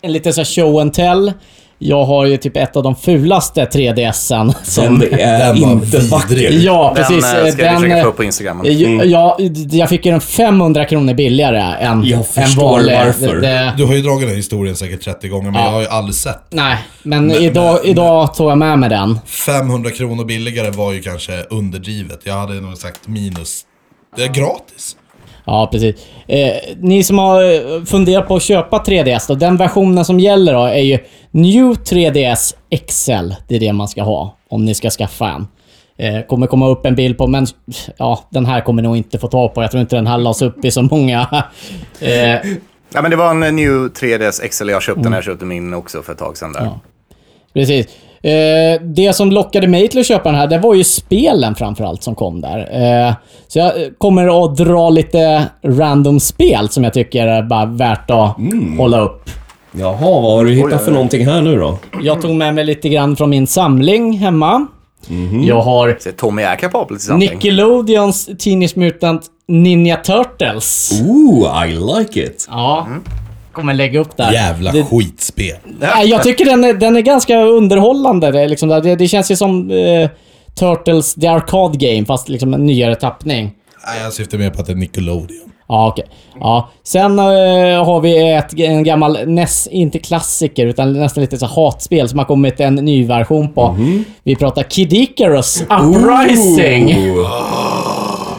S5: en liten så här show and tell. Jag har ju typ ett av de fulaste 3DSen.
S3: Som det är
S4: Den var
S3: inte vacker.
S4: vidrig.
S5: Ja,
S2: Den
S5: precis.
S2: eh, ska vi försöka
S5: eh,
S2: få upp på Instagram. Mm.
S5: eh, ja, jag fick ju den 500 kronor billigare än,
S3: Jag
S5: än
S3: förstår
S5: vanlig.
S3: varför.
S5: Det- det-
S4: Du har ju dragit den här historien säkert 30 gånger men jag har ju aldrig sett.
S5: nej, men, idag, idag tog jag med mig den.
S4: 500 kronor billigare var ju kanske underdrivet. Jag hade nog sagt minus. Det är gratis.
S5: Ja, precis. Eh, ni som har eh, funderat på att köpa 3DS då, den versionen som gäller då är ju New 3DS XL. Det är det man ska ha om ni ska skaffa en. Eh, kommer komma upp en bild på, men ja, den här kommer nog inte få tag på. Jag tror inte den här lades upp i så många... Eh,
S2: Ja, men det var en eh, New 3DS XL jag köpte när jag köpte min också för ett tag sedan. Där.
S5: Precis. Eh, det som lockade mig till att köpa den här, det var ju spelen framförallt som kom där. Eh, så jag eh, kommer att dra lite random spel som jag tycker är bara värt att hålla upp.
S3: Jaha, vad har du hittat för någonting här nu då?
S5: Jag tog med mig lite grann från min samling hemma. Jag har
S2: Så Tommy är kapabel till something.
S5: Nickelodeons Teenage Mutant Ninja Turtles.
S3: Oh. Ooh, I like it!
S5: Ja. Mm. Kommer lägga upp där.
S4: Jävla
S5: Det-
S4: skitspel.
S5: Nej, jag tycker den är, den är ganska underhållande. Det, är liksom, det, det känns ju som eh, Turtles The Arcade Game, fast liksom en nyare tappning.
S4: Nej, jag syftar mer på att det är Nickelodeon.
S5: Ja, okej. Ja. Sen eh, har vi ett, en gammal, näst, inte klassiker, utan nästan lite så här hatspel som har kommit en ny version på. Vi pratar Kid Icarus Uprising. Ja.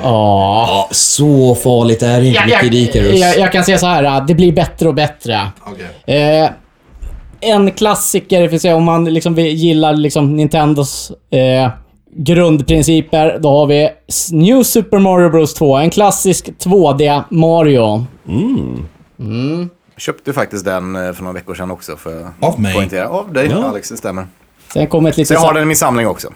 S5: Ah.
S3: Ja, så farligt är det inte,
S5: Jag,
S3: Nicky
S5: jag,
S3: Dikerus.
S5: jag, jag kan säga så här, ah, det blir bättre och bättre. Eh, en klassiker, för att säga, om man liksom vill- gillar liksom Nintendos eh, grundprinciper, då har vi S- New Super Mario Bros 2. En klassisk 2D Mario.
S2: Jag köpte faktiskt den eh, för några veckor sedan också. För att
S4: Av mig.
S2: Poängtera. Av dig, Alex. Det stämmer.
S5: Sen kommer ett
S2: Så
S5: litet...
S2: jag har
S5: så-
S2: den i min samling också.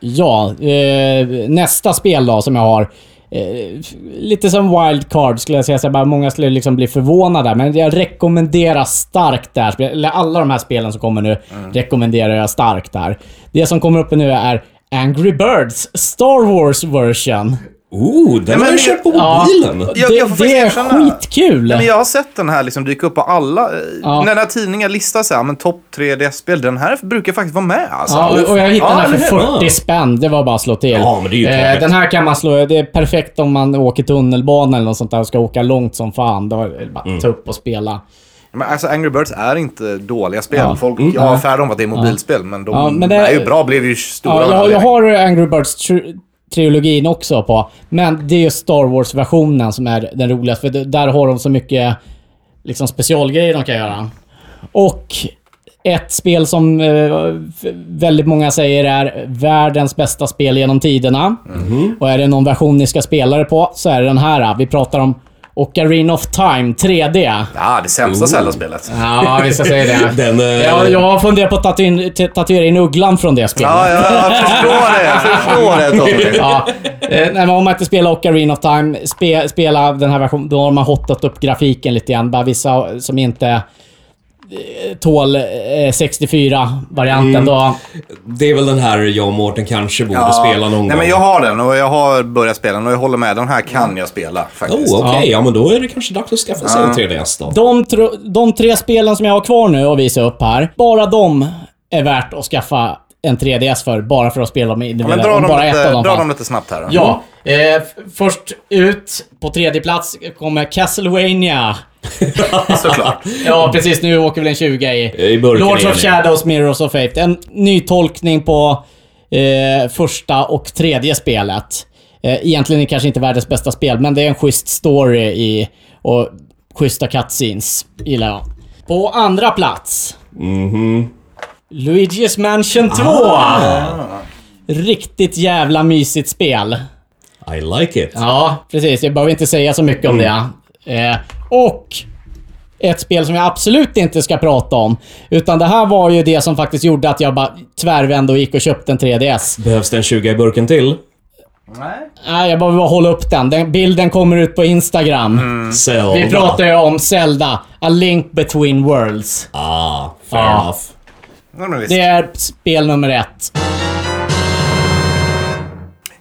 S5: Ja, eh, nästa spel då som jag har. Eh, lite som wildcard skulle jag säga. Så jag bara, många skulle liksom bli förvånade. Men jag rekommenderar starkt det här spelet. Eller alla de här spelen som kommer nu
S2: Mm.
S5: rekommenderar jag starkt där. Det som kommer upp nu är Angry Birds Star Wars version.
S3: Ooh, den
S2: men
S3: har jag
S2: det-
S3: köpt på
S5: Ja.
S3: mobilen!
S2: Jag-
S5: det
S2: jag får faktiskt
S5: det är
S2: erkänna-
S5: skitkul!
S2: Men jag har sett den här liksom dyka upp på alla. eh,
S5: Ja.
S2: När den här tidningen listar så här, men topp 3 DS-spel. Den här brukar faktiskt vara med alltså.
S5: Ja, och- och jag hittade
S2: Ja,
S5: den här
S2: eller
S5: för
S3: hur?
S5: 40 spänn. Det var bara att slå till. Eh,
S3: Ja, men det är ju trevligt.
S5: den här kan man slå. Det är perfekt om man åker tunnelbana eller något sånt där och ska åka långt som fan. Då är det bara
S3: Mm.
S5: ta upp och spela.
S2: Men alltså Angry Birds är inte dåliga spel.
S5: Ja. Mm,
S2: Folk, jag har affär om att det är mobilspel, men de
S5: Ja, men det-
S2: är ju bra. Blev ju stora.
S5: Ja,
S2: av
S5: jag, jag
S2: anledning.
S5: har Angry Birds tr- trilogin också på. Men det är ju Star Wars-versionen som är den roligaste. För d- där har de så mycket liksom, specialgrejer de kan göra. Och ett spel som eh, f- väldigt många säger är världens bästa spel genom tiderna. Och är det någon version ni ska spela det på så är det den här. Vi pratar om Ocarina of Time 3D.
S2: Ja, det sämsta Zelda-spelet.
S5: Ja, vi ska säga det.
S3: Den, eh,
S5: jag, jag har funderat på att tatuin- t- tatuera in ugglan från det spelet.
S2: Ja, ja, jag förstår det. Jag förstår det, Tommy.
S5: Ja. Eh, Nej, men om man inte spelar Ocarina of Time, spe, spela den här versionen, då har man hotat upp grafiken lite grann. Bara vissa som inte eh, tål eh, 64-varianten
S2: Mm.
S5: då.
S3: Det är väl den här jag och Mårten kanske borde spela någon
S2: Nej,
S3: gång.
S2: men jag har den och jag har börjat spela den och jag håller med. Den här kan jag spela
S3: Oh,
S2: faktiskt.
S3: okej. Ja. men då är det kanske dags att skaffa sig en 3DS då.
S5: De, tro- de tre spelen som jag har kvar nu och visar upp här, bara de är värt att skaffa en 3DS för, bara för att spela dem
S2: Ja,
S5: individuellt.
S2: men dra
S5: Om
S2: dem,
S5: bara ett
S2: lite,
S5: av dem
S2: dra
S5: fanns.
S2: dem lite snabbt här.
S5: Ja, eh, f- först ut på tredje plats kommer Castlevania
S2: Såklart.
S5: Ja, precis. Nu åker väl en 20 i...
S3: I burken
S5: Lords
S3: igen,
S5: of
S3: ja.
S5: Shadows, Mirrors of Fate. En ny tolkning på eh, första och tredje spelet. Eh, egentligen är det kanske inte världens bästa spel, men det är en schysst story i, och schyssta cutscenes, gillar jag. På andra plats.
S3: Mhm.
S5: Luigi's Mansion 2!
S3: Ah.
S5: Riktigt jävla mysigt spel.
S3: I like it.
S5: Ja, precis. Jag behöver inte säga så mycket om
S2: Mm.
S5: det. Eh, och ett spel som jag absolut inte ska prata om. Utan det här var ju det som faktiskt gjorde att jag bara tvärvände och gick och köpte en 3DS.
S3: Behövs det en 20 i burken till?
S2: Mm.
S5: Nej, jag behöver bara hålla upp den. den. Bilden kommer ut på Instagram.
S2: Mm.
S3: Zelda.
S5: Vi pratar ju om Zelda, A Link Between Worlds.
S3: Ah, fair
S5: Ja.
S3: enough.
S2: Ja, men visst.
S5: Det är spel nummer ett.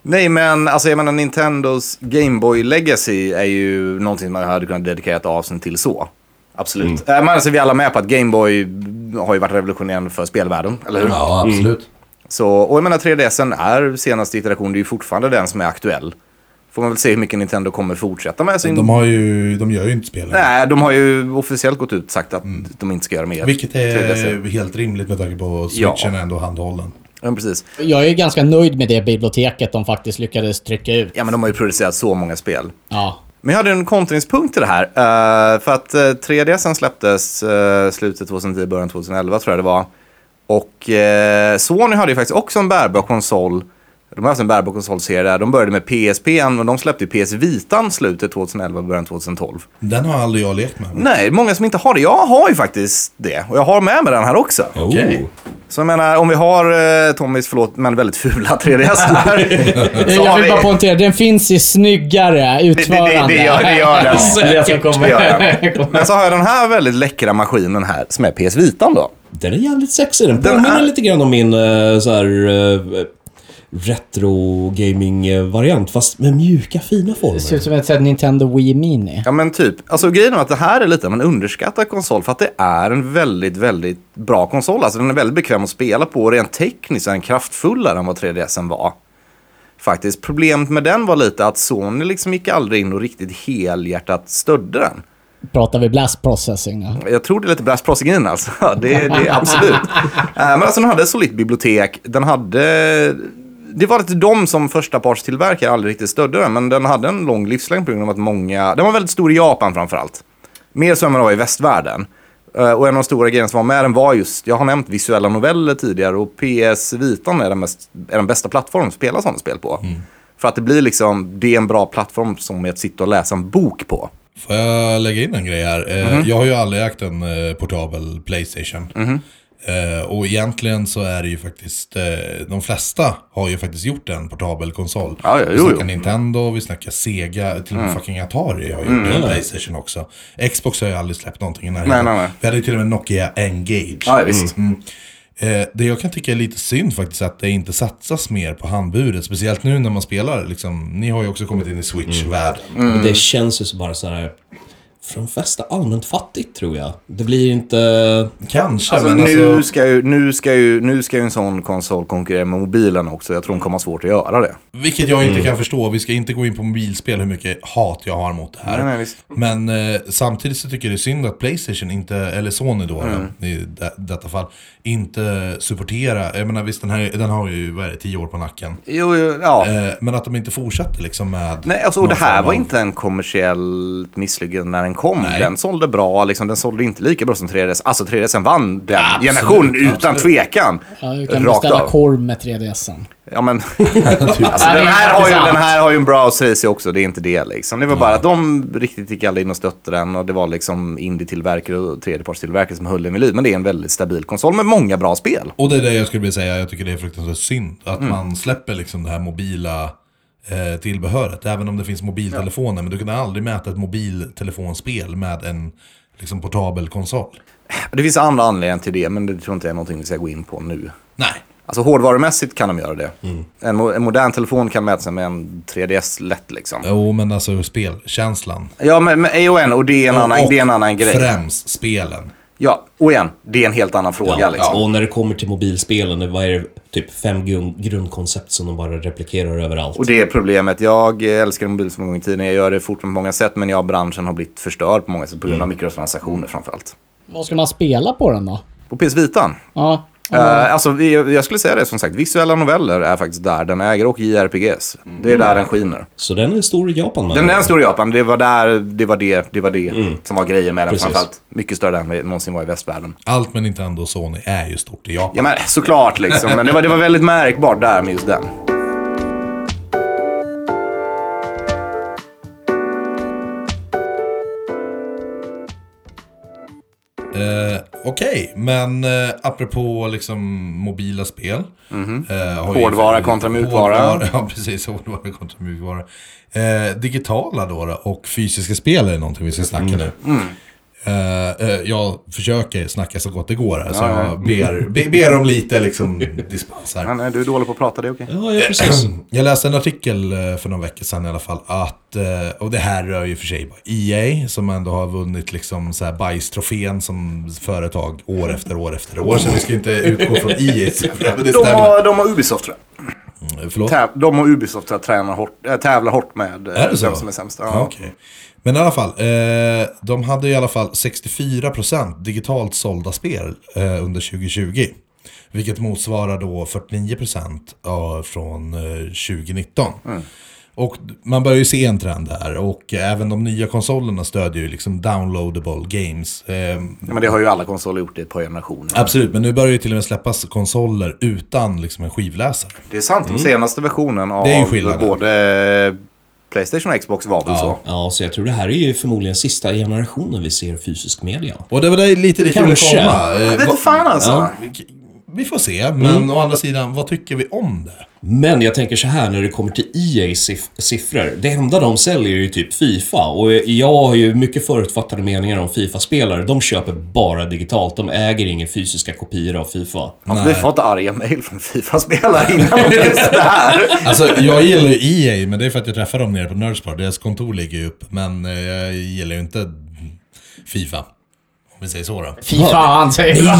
S2: Nej, men alltså jag menar Nintendos Game Boy Legacy är ju någonting man hade kunnat dedikera ett avsnitt till så. Absolut. Mm. Men alltså, vi är alla med på att Game Boy har ju varit revolutionerande för spelvärlden, eller hur? Mm.
S4: Ja, absolut.
S2: Så, och jag menar 3DSen är senaste iterationen, det är ju fortfarande den som är aktuell. Får man väl se hur mycket Nintendo kommer fortsätta med sin...
S4: De, har ju, de gör ju inte spel.
S2: Nej, de har ju officiellt gått ut och sagt att de inte ska göra mer.
S4: Mm. Vilket
S2: 3DS.
S4: är helt rimligt med tanke på switchen är ändå handhållen.
S2: Ja, precis.
S5: Jag är ganska nöjd med det biblioteket de faktiskt lyckades trycka ut.
S2: Ja, men de har ju producerat så många spel.
S5: Ja.
S2: Men jag hade en kontringspunkt till det här. eh, för att eh, 3DSen släpptes eh, slutet 2010, början 2011 tror jag det var. Och eh, Sony hade ju faktiskt också en bärbar konsol. De har haft en bärbar konsolserie där. De började med PSP och de släppte ju PS Vitan slutet 2011, början 2012.
S5: Mm.
S4: Den har aldrig jag lekt med.
S2: Nej, många som inte har det. Jag har ju faktiskt det. Och jag har med mig den här också.
S3: Okej.
S2: Så jag menar, om vi har eh, Tommys, förlåt, men väldigt fula 3DS där. så
S5: Jag
S2: har
S5: vill
S2: vi...
S5: bara poängtera, den finns i snyggare
S2: Det, det, det,
S5: utförande.
S2: det, gör, det gör den.
S5: Det är det som kommer.
S2: Det gör den. Men så har jag den här väldigt läckra maskinen här, som är PS Vitan då.
S3: Den är jävligt sexig. Den påminner
S2: är-
S3: lite grann om min eh, så här, eh, retro gaming-variant, fast med mjuka fina
S5: Det ser
S3: former.
S5: ut som ett sånt här Nintendo Wii Mini.
S2: Ja men typ, alltså grejen är att det här är lite av en underskattad konsol för att det är en väldigt, väldigt bra konsol. Alltså den är väldigt bekväm att spela på och rent tekniskt är den kraftfullare än vad 3DSen var. Faktiskt, problemet med den var lite att Sony liksom gick aldrig in och riktigt helhjärtat stödde den.
S5: Pratar vi blast processing nu?
S2: Jag tror det är lite brass prossegrin alltså. Det, det är absolut. Eh, Men alltså den hade ett solitt bibliotek. Den hade... Det var lite de som förstapartstillverkare aldrig riktigt stödde den. Men den hade en lång livslängd på grund av att många... Den var väldigt stor i Japan framförallt. Mer så än vad den var i västvärlden. Eh, Och en av de stora grejerna som var med den var just, jag har nämnt visuella noveller tidigare och PS Vitan är den, mest, är den bästa plattformen att spela sådana spel på. För att det blir liksom, det är en bra plattform som är att sitta och läsa en bok på.
S4: Får jag lägga in en grej här? Eh,
S2: Mhm.
S4: Jag har ju aldrig ägt en eh, portabel Playstation. Eh, och egentligen så är det ju faktiskt, eh, de flesta har ju faktiskt gjort en portabel konsol.
S2: Ja, ja,
S4: vi
S2: jo, Mm.
S4: snackar
S2: jo.
S4: Nintendo, vi snackar Sega, till och med fucking Atari har gjort en Playstation också. Xbox har ju aldrig släppt någonting. Nej,
S2: Mm. nej, nej.
S4: Vi hade ju till och med Nokia Engage.
S2: Ja, visst.
S4: Mm. Eh, det jag kan tycka är lite synd faktiskt är att det inte satsas mer på handburet. Speciellt nu när man spelar, liksom, ni har ju också kommit in i Switch-världen.
S2: Mm.
S3: Men Det känns ju så bara så här för de flesta allmänt fattigt, tror jag. Det blir inte...
S4: Kanske,
S2: Alltså,
S4: men
S2: nu,
S4: alltså,
S2: Ska ju, nu, ska ju, nu ska ju en sån konsol konkurrera med mobilen också. Jag tror de kommer ha svårt att göra det.
S4: vilket jag inte
S2: Mm.
S4: kan förstå. Vi ska inte gå in på mobilspel hur mycket hat jag har mot det här.
S2: Nej, nej, visst.
S4: Men eh, samtidigt så tycker jag det är synd att Playstation inte, eller Sony då,
S2: Mm.
S4: i de, detta fall, inte supporterar. Jag menar visst, den, här, den har ju, vad är det, tio år på nacken.
S2: Jo, jo ja.
S4: Eh, men att de inte fortsätter liksom med...
S2: Nej, alltså, och
S4: någon
S2: det här
S4: form
S2: var
S4: av-
S2: inte en kommersiell misslyckande när den kom. Den sålde bra, liksom, den sålde inte lika bra som 3DS. Alltså 3DS vann den generationen utan tvekan.
S5: Ja, du kan
S2: Rakt
S5: beställa
S2: av.
S5: korv med 3DSen.
S2: Ja, men, alltså, den, här har ju, den här har ju en bra sig också, det är inte det liksom. Det var bara att de riktigt gick alla in och stötte den och det var liksom indie-tillverkare och tredjepartstillverkare som höll den vid liv. Men det är en väldigt stabil konsol med många bra spel.
S4: Och det är det jag skulle vilja säga, jag tycker det är fruktansvärt synd. Att
S2: Mm.
S4: man släpper liksom det här mobila eh, tillbehöret. Även om det finns mobiltelefoner, men du kan aldrig mäta ett mobiltelefonspel med en liksom, portabel konsol.
S2: Det finns andra anledningar till det, men det tror inte jag är någonting vi ska gå in på nu.
S4: Nej.
S2: Alltså hårdvarumässigt kan de göra det. En, mo- en modern telefon kan mäta sig med en 3DS lätt liksom.
S4: Jo, men alltså spelkänslan.
S2: Ja, men, men AON, och det är en, annan,
S4: Och
S2: det är en annan grej.
S4: Främst spelen.
S2: Ja, och igen, det är en helt annan fråga.
S3: Ja,
S2: liksom.
S3: Och när det kommer till mobilspelen, vad är det? Typ fem grund, grundkoncept som de bara replikerar överallt.
S2: Och det är problemet. Jag älskar mobil som en gång i tiden. Jag gör det fortfarande på många sätt, men jag branschen har blivit förstörd på många sätt på grund av mikrotransaktioner framförallt.
S5: Vad ska man spela på den då?
S2: På PS Vitan.
S5: Ja.
S2: Eh, alltså, vi- jag skulle säga det som sagt, visuella noveller är faktiskt där den äger och JRPGs. Det är där den skiner.
S3: Så den är stor i Japan. man.
S2: Den är stor i Japan, det var där, det var det, det var det
S4: Mm.
S2: som var grejen med den
S3: Precis.
S2: framförallt. Mycket större än vi någonsin var i västvärlden.
S4: Allt med Nintendo och Sony är ju stort i Japan.
S2: Ja men såklart liksom, men det var, det var väldigt märkbart där med just den.
S4: Eh, Okej, men eh, apropå liksom mobila spel. eh, har ju-
S2: Mhm. Hårdvara kontra mjukvara.
S4: Hårdvara, Ja, precis. Hårdvara kontra mjukvara. Eh, digitala då, då och fysiska spel är någonting vi ska snacka
S2: Mm.
S4: nu. Eh, eh, jag försöker snacka så gott det går här, så jag ber, be- ber om lite liksom, dispens här.
S2: Men, eh, du är dålig på att prata, det är okej.
S3: Ja, ja, precis.
S4: Jag läste en artikel eh, för några veckor sedan i alla fall att, eh, och det här rör ju för sig bara EA som ändå har vunnit liksom så här bajstrofén som företag år efter år efter år. Så vi ska inte utgå från EA. s siffror, men det
S2: De
S4: stämmer.
S2: har, de har Ubisoft tror jag.
S4: Förlåt?
S2: Täv, de och Ubisoft tror jag tränar hårt, äh, tävlar hårt med eh,
S4: Är det så?
S2: vem som är sämst. Ja.
S4: Ja, okej. Men i alla fall, eh, de hade i alla fall 64% digitalt sålda spel eh, under 2020. Vilket motsvarar då 49% av, från eh, 2019.
S2: Mm.
S4: Och d- man börjar ju se en trend här och även de nya konsolerna stödjer ju liksom downloadable games. Ehm,
S2: Ja, Men det har ju alla konsoler gjort i ett par generationer.
S4: absolut, men nu börjar ju till och med släppas konsoler utan liksom en skivläsare.
S2: Det är sant, den senaste versionen av
S4: Mm. Det är ju skillnaden. Eh,
S2: både eh, Playstation och Xbox var väl så.
S3: Ja, så jag tror det här är ju förmodligen sista generationen vi ser fysisk media.
S4: Och det var det lite det skulle
S3: Kanske.
S4: komma. Eh,
S2: Jag vet
S4: vad-
S2: inte fan alltså.
S4: Vi får se, men å andra sidan, vad tycker vi om det?
S3: Men jag tänker så här när det kommer till EAs siff- siffror. Det enda de säljer är ju typ Fifa. Och jag har ju mycket förutfattade meningar om Fifa-spelare. De köper bara digitalt. De äger inga fysiska kopior av Fifa.
S2: Alltså, Vi får inte arga mejl från Fifa-spelare innan vi ens det här.
S4: Alltså jag gillar ju EA, men det är för att jag träffar dem nere på Nerdspar. Deras kontor ligger ju upp, men eh, jag gillar ju inte Fifa. Om vi säger så då.
S5: Fy fan säger jag.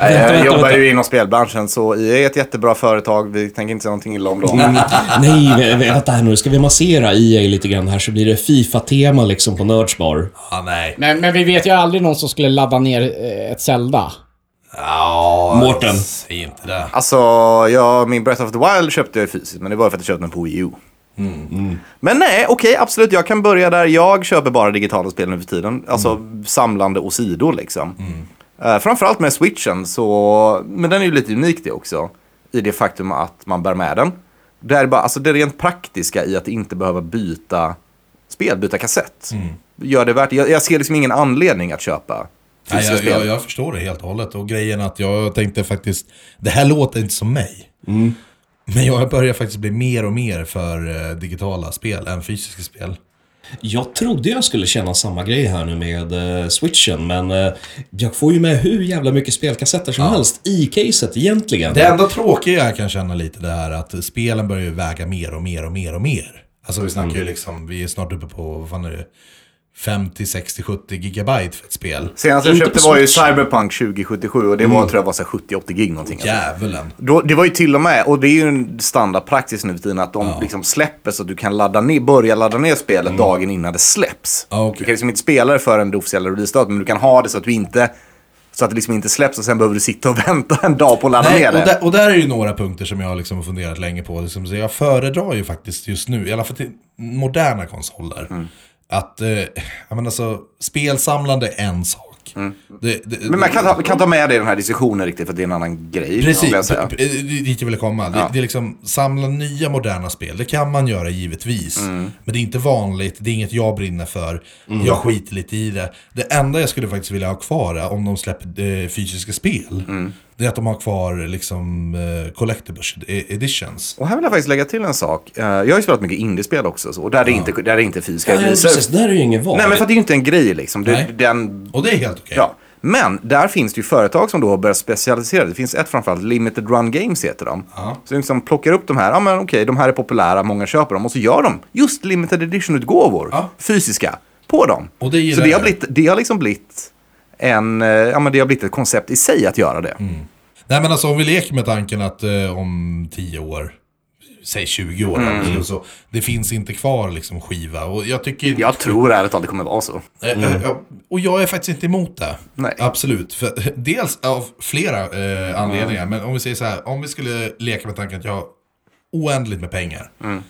S2: Nej, Jag jobbar ju inom spelbranschen så EA är ett jättebra företag. Vi tänker inte säga någonting illa om dem.
S3: Nej, vä- vä- vänta här nu. Ska vi massera EA lite grann här så blir det Fifa-tema liksom på Nördsbar.
S4: Ah, nej.
S5: Men, men vi vet ju aldrig någon som skulle ladda ner eh, ett Zelda.
S4: Ja,
S3: Mårten.
S4: Säg inte det.
S2: Alltså, jag, min Breath of the Wild köpte jag fysiskt, men det var ju för att jag köpte den på Wii U.
S4: Mm.
S2: Men nej, okej, absolut. Jag kan börja där. Jag köper bara digitala spel nu för tiden. Alltså
S4: Mm.
S2: samlande och sidor liksom. Eh, framförallt med switchen, så, men den är ju lite unik det också. I det faktum att man bär med den. Det, är bara, alltså, det rent praktiska i att inte behöva byta spel, byta kassett. Gör det värt jag, jag ser liksom ingen anledning att köpa
S4: Mm. Nej,
S2: fysiska
S4: jag,
S2: spel.
S4: jag, jag förstår det helt och hållet. Och grejen att jag tänkte faktiskt, det här låter inte som mig. Men jag börjar faktiskt bli mer och mer för eh, digitala spel än fysiska spel.
S3: Jag trodde jag skulle känna samma grej här nu med eh, switchen, men eh, jag får ju med hur jävla mycket spelkassetter som helst i caset egentligen.
S4: Det enda tråkiga jag kan känna lite det är att spelen börjar ju väga mer och mer och mer och mer. Alltså vi snackar
S2: Mm.
S4: ju liksom, vi är snart uppe på, vad fan är det? 50, 60, 70 gigabyte för ett spel.
S2: Senast jag
S3: Inte
S2: köpte
S3: på
S2: var ju
S3: Switch.
S2: Cyberpunk 2077 och det
S4: Mm.
S2: var tror jag var så här 70-80 gig någonting. alltså.
S4: Djävulen.
S2: Då, det var ju till och med, och det är ju en standardpraxis nu för tiden, att de liksom släpper så att du kan ladda ner, börja ladda ner spelet dagen innan det släpps.
S4: Mm. Ja, okej.
S2: Du kan liksom inte spela det förrän det officiella releasedatumet, men du kan ha det så att du inte så att det liksom inte släpps och sen behöver du sitta och vänta en dag på att ladda
S4: Nej,
S2: ner
S4: och,
S2: det.
S4: där, och där är ju några punkter som jag liksom har funderat länge på. Liksom, så jag föredrar ju faktiskt just nu, i alla fall till moderna konsoler,
S2: Mm.
S4: att eh, jag menar så, spelsamlande är en sak. Det, det,
S2: Mm. Men man kan ta, kan ta med det i den här diskussionen riktigt, för det är en annan grej. skulle jag
S4: Precis,
S2: säga.
S4: p- p- eh, dit jag ville komma. Det, det är liksom samla nya moderna spel, det kan man göra givetvis.
S2: Mm.
S4: Men det är inte vanligt, det är inget jag brinner för. Jag skiter lite i det. Det enda jag skulle faktiskt vilja ha kvar är, om de släpper eh, fysiska spel,
S2: Mm.
S4: det är att de har kvar liksom eh, collectibles e- editions.
S2: Och här vill jag faktiskt lägga till en sak. Eh, Jag har ju spelat mycket indiespel också, så, och där är inte, där är inte fysiska
S3: Nej,
S2: releaser.
S3: precis, där är ju ingen val.
S2: Nej, men för att det är ju inte en grej liksom. Det,
S4: Nej.
S2: den
S4: Och det är helt okej.
S2: Ja. Men där finns det ju företag som då har börjat specialisera. Det finns ett framförallt, Limited Run Games heter de. Så de liksom plockar upp de här, ja men okej, de här är populära, många köper dem. Och så gör de just limited edition-utgåvor,
S4: Ja.
S2: fysiska, på dem.
S4: Och det gillar
S2: så det har,
S4: jag.
S2: blivit, det har liksom blivit en, eh, ja, men det har blivit ett koncept i sig att göra det.
S4: Nej men alltså om vi leker med tanken att eh, om 10 år, säg 20 år
S2: Mm.
S4: eller så, det finns inte kvar liksom skiva. Och jag tycker...
S2: Jag tror ärligt talat det kommer vara så.
S4: Eh, eh, ja, Och jag är faktiskt inte emot det.
S2: Mm. Nej. Mm.
S4: Absolut. För, eh, dels av flera eh, anledningar. Men om vi säger så här, om vi skulle leka med tanken att jag har oändligt med pengar.
S2: Mm.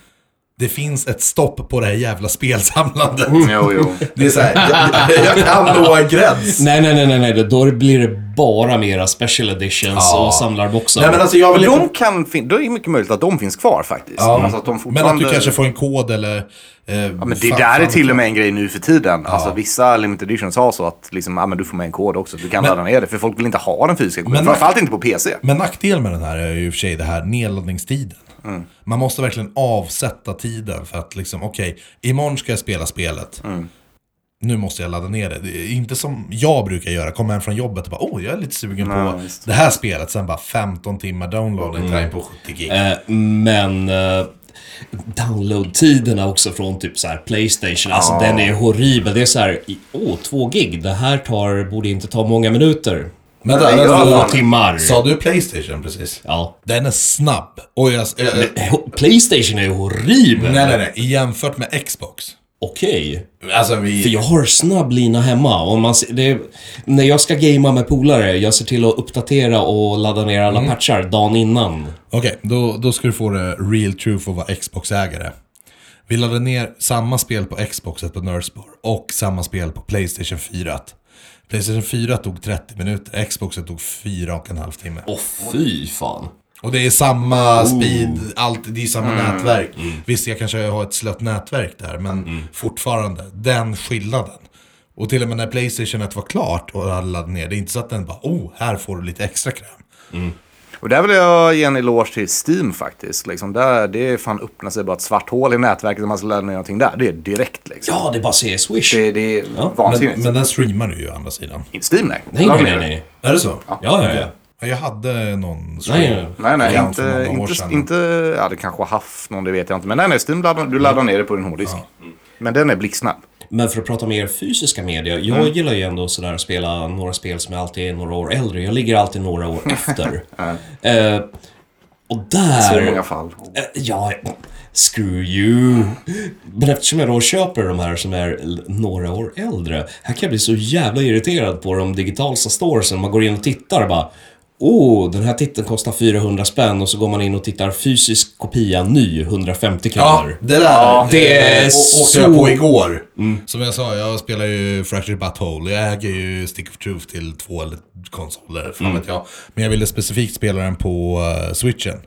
S4: Det finns ett stopp på det här jävla spelsamlandet.
S2: Jo, jo.
S4: Det är så här, jag, jag kan nå en gräns.
S3: Nej, nej, nej, nej, nej. Då blir det bara mera special editions
S4: Ja.
S3: och samlarboxar.
S4: Nej men alltså jag vill
S2: De kan fin- då är det mycket möjligt att de finns kvar faktiskt. Alltså att de
S4: Men
S2: fortfarande...
S4: att du kanske får en kod eller... Eh,
S2: Ja, men det där är till och med en grej nu för tiden. Alltså, vissa limited editions har så att liksom, ja, men du får med en kod också. Du kan ladda ner det, för folk vill inte ha den fysiska koden.
S4: Men-
S2: Framförallt inte på PC.
S4: Men nackdelen med den här är ju i och för sig det här nedladdningstiden. Man måste verkligen avsätta tiden för att liksom, okej, imorgon ska jag spela spelet. Nu måste jag ladda ner det. det är inte som jag brukar göra, komma hem från jobbet och bara, oh, jag är lite sugen på det här spelet. Sen bara 15 timmar downloading time på 70 gig.
S3: Eh, Men eh, download-tiderna också från typ så här Playstation, alltså den är horribel. Det är så här, i- åh, två gig. Det här tar, borde inte ta många minuter.
S4: men
S2: nej, jag
S4: alltså,
S3: Två
S2: fan.
S3: timmar.
S4: Sa du Playstation precis?
S3: Ja.
S4: Den är snabb. Och jag, eh,
S3: Ho- Playstation är ju horribel.
S4: nej, nej, nej. Jämfört med Xbox.
S3: Okej.
S4: Alltså vi...
S3: För jag har snabb lina hemma. Och man, ser- det, är- när jag ska gamea med polare, jag ser till att uppdatera och ladda ner alla patchar dagen innan.
S4: Okej, då, då ska du få det real true för att vara Xbox-ägare. Vi laddade ner samma spel på Xboxet på Nursebar och samma spel på Playstation 4. Playstation 4 tog 30 minuter, Xboxet tog 4 och en halv timme.
S3: Åh, fy fan.
S4: Och det är
S3: Oh.
S4: samma speed, allt, det är samma
S3: Mm.
S4: nätverk. Visst, jag kanske har ett slött nätverk där, men
S3: Mm.
S4: fortfarande, den skillnaden. Och till och med när Playstation 1 var klart och alla laddade ner, det är inte så att den bara oh, här får du lite extra kräm.
S2: Och där vill jag ge en eloge till Steam faktiskt. Liksom, där, det fan öppnar sig bara ett svart hål i nätverket om man ska ladda ner någonting där. Det är direkt liksom.
S3: Ja, det är bara att säga swish.
S2: Det, det är
S3: Ja,
S2: vansinnigt.
S4: Men, men den streamar du ju å andra sidan.
S2: Inte Steam nej.
S3: Nej,
S2: Ladda
S3: nej,
S2: ner
S3: nej.
S2: det.
S3: nej.
S4: Är det så?
S3: Ja, ja, ja.
S4: Ja, Jag hade någon
S3: Nej, nej.
S2: Nej, nej,
S4: program för
S2: inte,
S4: några år
S2: inte,
S4: sedan.
S2: inte, ja det kanske har haft någon, det vet jag inte. Men nej, nej, Steam laddar, du laddar ner det på din hårddisk. Men den är blixtsnabb.
S3: Men för att prata mer fysiska medier, jag gillar ju ändå sådär att spela några spel som jag alltid är några år äldre. Jag ligger alltid några år efter. eh, och
S2: Så
S3: där...
S2: många fall.
S3: Eh, ja, screw you. Men eftersom jag då köper de här som är l- några år äldre, här kan jag bli så jävla irriterad på de digitala storesen. Man går in och tittar och bara Åh, oh, den här titeln kostar 400 spänn och så går man in och tittar fysisk kopia ny, 150
S4: Ja,
S3: kronor.
S4: det där
S3: det är
S4: eh, å- åkte
S3: så- Mm.
S4: jag på igår. Som jag sa, jag spelar ju Fractured Butthole. Jag äger ju Stick of Truth till två eller konsoler,
S3: Mm.
S4: fan vet jag. Men jag ville specifikt spela den på eh, switchen.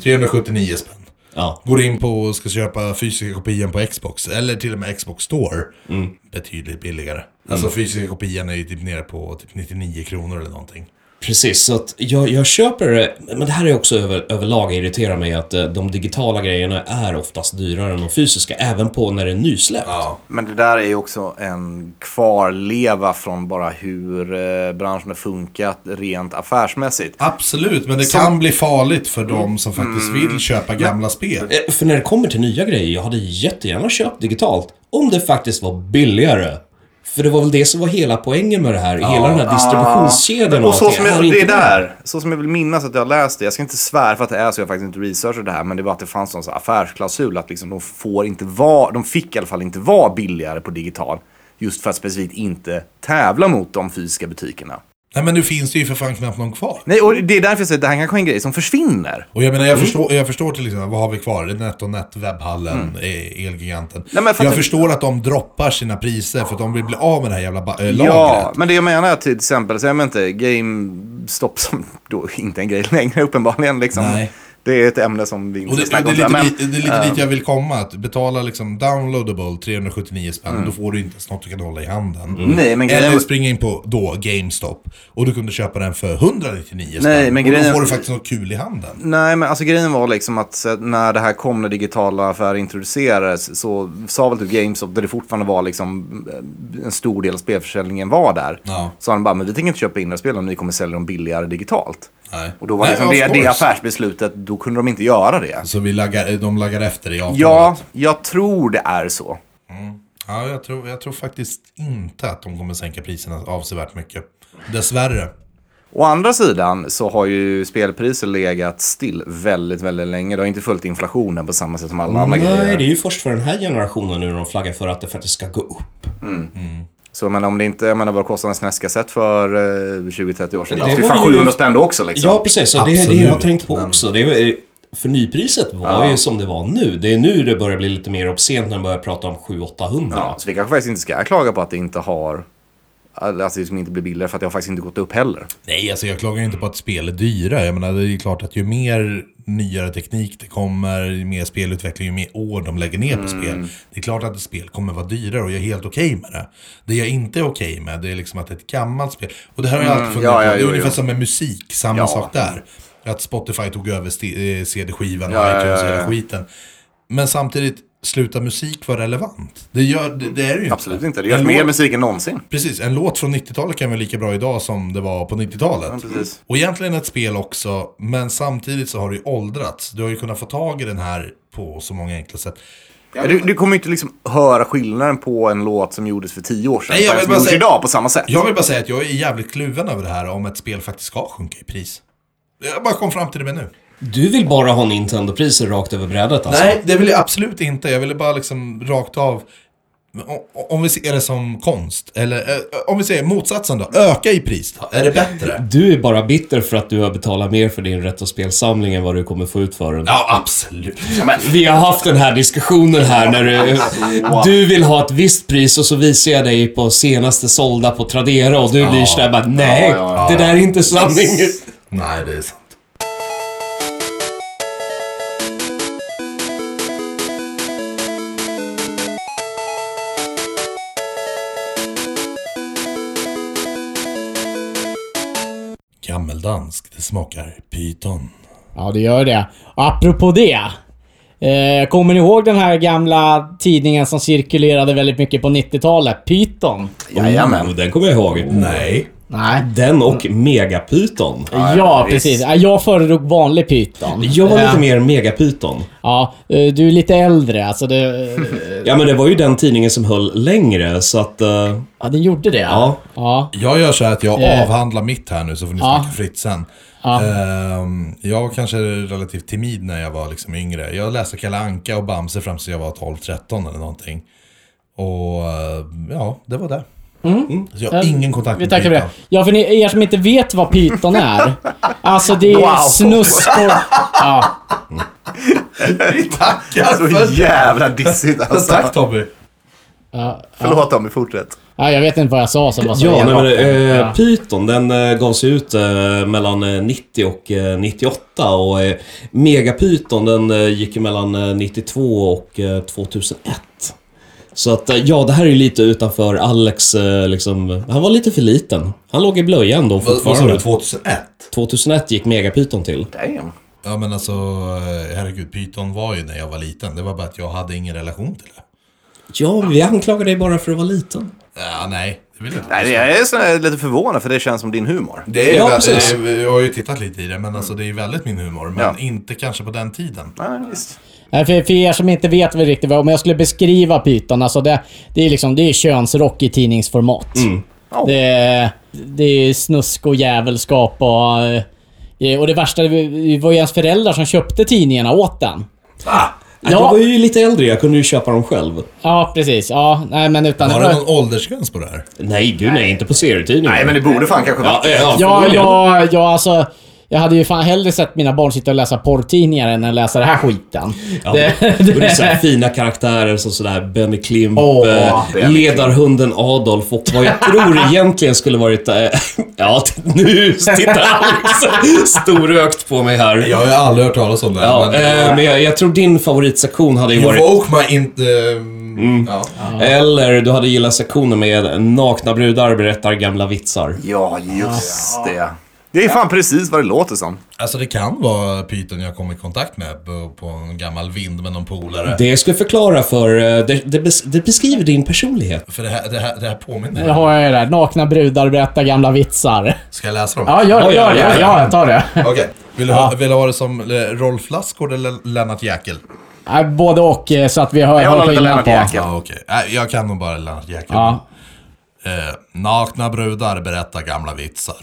S4: 379 spänn.
S3: Mm. Ja.
S4: Går in på och ska köpa fysiska kopian på Xbox, eller till och med Xbox Store.
S3: Mm.
S4: Betydligt billigare. Alltså fysiska kopian är ju typ nere på typ 99 kronor eller någonting.
S3: Precis, så att jag, jag köper det. Men det här är också över, överlag irriterar mig att eh, de digitala grejerna är oftast dyrare än de fysiska, även på när det är nysläppt.
S2: Men det där är ju också en kvarleva från bara hur eh, branschen har funkat rent affärsmässigt.
S4: Absolut, men det kan bli farligt för
S2: Mm.
S4: de som faktiskt vill köpa gamla spel.
S3: Eh, För när det kommer till nya grejer, jag hade jättegärna köpt digitalt om det faktiskt var billigare. För det var väl det som var hela poängen med det här, hela den här distributionskedjan
S2: Och så
S3: allt
S2: som
S3: är
S2: jag, det
S3: inte
S2: är
S3: bra.
S2: där, så som jag vill minnas att jag läste, jag ska inte svära för att det är så, jag har faktiskt inte researchat det här, men det var att det fanns någon sån här affärsklausul att liksom de får inte vara, de fick i alla fall inte vara billigare på digital. Just för att specifikt inte tävla mot de fysiska butikerna.
S4: Nej men nu finns det ju för fan knappt någon kvar.
S2: Nej, och det är därför jag säger att det här kanske är en grej som försvinner.
S4: Och jag menar,
S2: Mm.
S4: jag, förstår, jag förstår till exempel, vad har vi kvar? Det är NetOnNet, Webhallen, eh, Elgiganten.
S2: Mm. men jag
S4: jag
S2: fattar-
S4: förstår att de droppar sina priser för att de vill bli av med det här jävla ba- äh,
S2: Ja,
S4: lagret.
S2: men det jag menar är till exempel, så jag menar inte GameStop som då inte är en grej längre uppenbarligen. Liksom.
S4: Nej.
S2: Det är ett ämne som vi inte
S4: Och
S2: ska
S4: det, det,
S2: snacka
S4: är
S2: om.
S4: lite,
S2: där, men, eh,
S4: dit- det är lite dit jag vill komma, att betala liksom downloadable 379 spänn, då får du inte ens något du kan hålla i handen.
S2: Mm. Nej, men
S4: Eller
S2: grejen-
S4: springa in på då GameStop och du kunde köpa den för 199 spänn.
S2: Nej, men
S4: och då
S2: grejen-
S4: får du faktiskt något kul i handen.
S2: Nej, men alltså grejen var liksom att så att när det här kom, när digitala affärer introducerades, så sa väl typ GameStop, där det fortfarande var liksom eh, en stor del av spelförsäljningen var där,
S4: Ja.
S2: sa de bara, men vi tänker inte köpa in era spel om ni kommer sälja dem billigare digitalt.
S4: Nej.
S2: Och då var
S4: Nej,
S2: liksom
S4: of
S2: det, det
S4: course.
S2: affärsbeslutet, då kunde de inte göra det.
S4: Så vi laggar, de laggar efter i avtalet?
S2: Ja, jag tror det är så.
S4: Ja, Ja, jag tror, jag tror faktiskt inte att de kommer sänka priserna avsevärt mycket. Dessvärre.
S2: Å andra sidan så har ju spelpriser legat still väldigt, väldigt länge. Det har inte följt inflationen på samma sätt som alla andra
S3: Nej, det
S2: grejer.
S3: är ju först för den här generationen nu de flaggar för att det faktiskt ska gå upp.
S2: Så men om det inte, jag menar vad kostade en snäskassett för eh, 20-30 år sedan?
S3: Det
S2: Det var ju
S3: var
S2: fan
S3: ju-
S2: 700 spänn då också liksom.
S3: Ja, precis. Och det är det jag har
S4: Absolut.
S3: tänkt på också. Det är, för nypriset var ju som det var nu. Det är nu det börjar bli lite mer obscent när man börjar prata om 700-800.
S2: Ja, så vi kanske faktiskt inte ska klaga på att det inte har, alltså det som inte blir billigare för att det har faktiskt inte gått upp heller.
S4: Nej, alltså jag klagar inte på att spel är dyra. Jag menar, det är ju klart att ju mer nyare teknik det kommer, ju mer spelutveckling, ju mer år de lägger ner på
S2: Mm.
S4: spel. Det är klart att ett spel kommer vara dyrare och jag är helt okej med det. Det jag inte är okej med, det är liksom att ett gammalt spel, och det här har jag alltid funderat
S2: Mm. Ja, ja,
S4: på, det är
S2: jo,
S4: ungefär
S2: jo.
S4: som med musik, samma
S2: Ja.
S4: sak där. Att Spotify tog över sti- eh, CD-skivan och
S2: Ja, ja,
S4: iTunes och
S2: ja,
S4: hela
S2: ja.
S4: skiten. Men samtidigt, slutar musik vara relevant? Det, gör, det, det är det ju inte.
S2: Absolut inte. Det
S4: En
S2: görs mer
S4: låt-
S2: musik än någonsin.
S4: Precis, en låt från 90-talet kan vara lika bra idag som det var på 90-talet.
S2: Ja, precis.
S4: och egentligen ett spel också, men samtidigt så har det ju åldrats. Du har ju kunnat få tag i den här på så många enkla sätt.
S2: Du, du kommer ju inte liksom höra skillnaden på en låt som gjordes för 10 år sedan
S4: Nej, jag
S2: och en
S4: vill
S2: som
S4: bara
S2: gjordes
S4: säga-
S2: idag på samma sätt.
S4: Jag vill bara säga att jag är jävligt kluven över det här om ett spel faktiskt ska sjunka i pris. Jag bara kom fram till det med nu.
S3: Du vill bara ha Nintendo-priser rakt över brädet alltså?
S4: Nej, det vill jag absolut inte. Jag ville bara liksom rakt av, o- o- om vi ser det som konst, eller eh, om vi säger motsatsen då, öka i pris. Är det bättre?
S3: Du är bara bitter för att du har betalat mer för din retrospelsamling än vad du kommer få ut för den.
S4: Ja, absolut.
S3: Vi har haft den här diskussionen här när du, du vill ha ett visst pris och så visar jag dig på senaste sålda på Tradera och du blir sådär bara nej, det där är inte sanning.
S4: Nej, det är sant. Gammeldansk, det smakar pyton.
S5: Ja, det gör det. Och apropå det. Eh, kommer ni ihåg den här gamla tidningen som cirkulerade väldigt mycket på 90-talet? Python?
S3: Oh, den kommer jag ihåg.
S4: Nej.
S5: Nej.
S3: Den och Megapyton.
S5: Ja, precis. Ja, Jag föredrog vanlig Python.
S3: Jag var
S5: Eh,
S3: lite mer Megapyton.
S5: Ja, eh, du är lite äldre. Alltså det, eh,
S3: Ja, men det var ju den tidningen som höll längre, så att... eh,
S5: ja, den gjorde det.
S3: Ja.
S5: ja.
S4: Jag gör så här att jag
S5: Eh.
S4: avhandlar mitt här nu så får ni
S5: Ja.
S4: snacka fritt sen. Ehm, jag var kanske relativt timid när jag var liksom yngre. Jag läste Kalle Anka och Bamse fram till jag var 12-13 eller någonting. Och eh, ja, det var det. Mm. Så jag har
S5: Eh,
S4: ingen kontakt
S5: Vi
S4: med
S5: tackar för det.
S4: Python.
S5: Ja, för ni, er som inte vet vad Python är. Alltså det är
S2: Wow.
S5: snusk på... Ja.
S4: Tackar
S2: Så
S4: för det!
S2: jävla dissigt alltså.
S4: Tack Tobbe!
S2: Förlåt Tommy, fortsätt.
S5: ja, jag vet inte vad jag sa som var så
S3: Ja, nej, men,
S5: elakt.
S3: eh,
S5: Ja.
S3: Python den eh, gavs ju ut eh, mellan eh, 90 och eh, 98 och eh, Megapyton den eh, gick ju mellan eh, 92 och eh, 2001. Så att eh, ja, det här är ju lite utanför Alex eh, liksom. Han var lite för liten. Han låg i blöjan då
S4: Vad vad sa
S3: fortfarande.
S4: du? 2001?
S3: 2001 gick Megapyton till.
S2: Damn.
S4: Ja men alltså, eh, herregud, Python var ju när jag var liten. Det var bara att jag hade ingen relation till det.
S3: Ja, vi anklagar dig bara för att vara liten.
S4: Ja, nej, det vill jag inte.
S2: Nej, jag är sån här lite förvånad för det känns som din humor.
S4: Det är
S3: Ja,
S4: väl-
S3: precis.
S4: eh, Jag har ju tittat lite i det, men alltså, det är ju väldigt min humor. Men
S2: Ja.
S4: inte kanske på den tiden.
S2: Nej, visst.
S5: Nej, för, för er som inte vet vad riktigt vad, om jag skulle beskriva Python, alltså det, det är liksom, det är könsrock i tidningsformat.
S3: Mm.
S2: Ja.
S5: Det, är- det är snusk och djävulskap och... eh, Och det värsta, det var ju ens föräldrar som köpte tidningarna åt den.
S3: Ja. Ah! Jag
S5: Ja.
S3: var ju lite äldre, jag kunde ju köpa dem själv.
S5: Ja, precis. Ja, nej men utan...
S4: Har du någon åldersgräns på det här?
S3: Nej, gud nej, inte på serietidningar.
S2: Nej, men det borde fan kanske
S3: Ja,
S2: vara.
S3: eh, ja,
S5: Ja,
S3: förmodligen.
S5: ja, ja, alltså... Jag hade ju fan hellre sett mina barn sitta och läsa porrtidningar än att läsa den här skiten.
S3: Ja,
S5: Det-
S3: och det är så här fina karaktärer som sådär Benny Klimp,
S5: Åh,
S3: eh,
S2: Benny
S3: ledarhunden Adolf och vad jag tror egentligen skulle varit... Eh, ja, t- nu tittar Alex storökt på mig här.
S4: Jag
S3: Ja,
S4: har ju aldrig hört talas om det.
S3: eh, men jag, jag tror din favoritsektion hade ju varit...
S4: Invoke my eh, inte... Ja.
S3: Eller du hade gillat sektionen med nakna brudar berättar gamla vitsar.
S2: Ja, just det. Det är fan precis vad det låter som.
S4: Alltså det kan vara Python jag kom i kontakt med på, på en gammal vind med någon polare.
S3: Det skulle förklara för... eh, Det, det, bes, det beskriver din personlighet.
S4: För det här, det här, det här påminner.
S5: Det har jag ju där. Nakna brudar berättar gamla vitsar.
S4: Ska jag läsa dem?
S5: Ja, gör
S3: Ja,
S5: det.
S3: ja,
S5: Gör
S3: ja,
S5: det.
S3: ja.
S5: Ja, ta det.
S4: Okej. Vill, du ha, vill du ha det som eh, Rolf Lassgård eller Lennart Jäkel?
S5: Nej, både och, eh, så att vi hör,
S2: Jag håller
S5: hör
S2: med
S5: skillnad
S2: Lennart
S5: på.
S2: Jäkel.
S4: Ja, okej. Äh, Jag kan nog bara Lennart Jäkel.
S5: Ja.
S4: Eh, nakna brudar berättar gamla vitsar.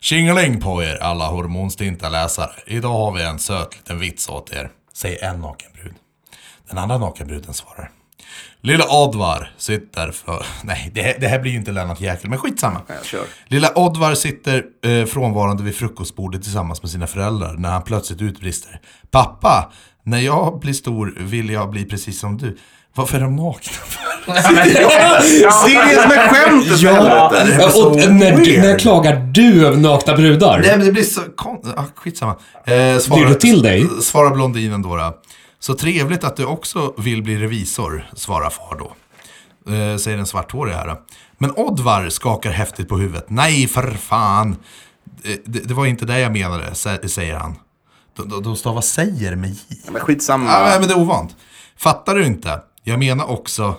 S4: Tjingeling på er alla hormonstinta läsare. Idag har vi en söt liten vits åt er. Säger en nakenbrud. Den andra nakenbruden svarar. Lilla Odvar sitter för... Nej, det, här- det här blir ju inte Lennart Jäkel, men skitsamma.
S2: kör.
S4: Lilla Odvar sitter eh, frånvarande vid frukostbordet tillsammans med sina föräldrar när han plötsligt utbrister. Pappa, när jag blir stor vill jag bli precis som du. Varför är de nakna?
S2: Ser ni det som ett skämt för helvete?
S4: Det är
S3: Ja,
S4: så
S3: och när,
S4: weird.
S3: när klagar du över nakna brudar?
S4: Nej men det blir så konstigt. Ah, skitsamma. Eh,
S3: Blir det till dig?
S4: Svarar blondinen då. då. Så trevligt att du också vill bli revisor, svarar far då. Eh, säger den svarthåriga här. Men Oddvar skakar häftigt på huvudet. Nej för fan. Eh, Det, det var inte det jag menade, sä- säger han. De- De de stavar säger med J.
S2: Men skitsamma.
S4: Ja, nej, men det är ovant. Fattar du inte? Jag menar också...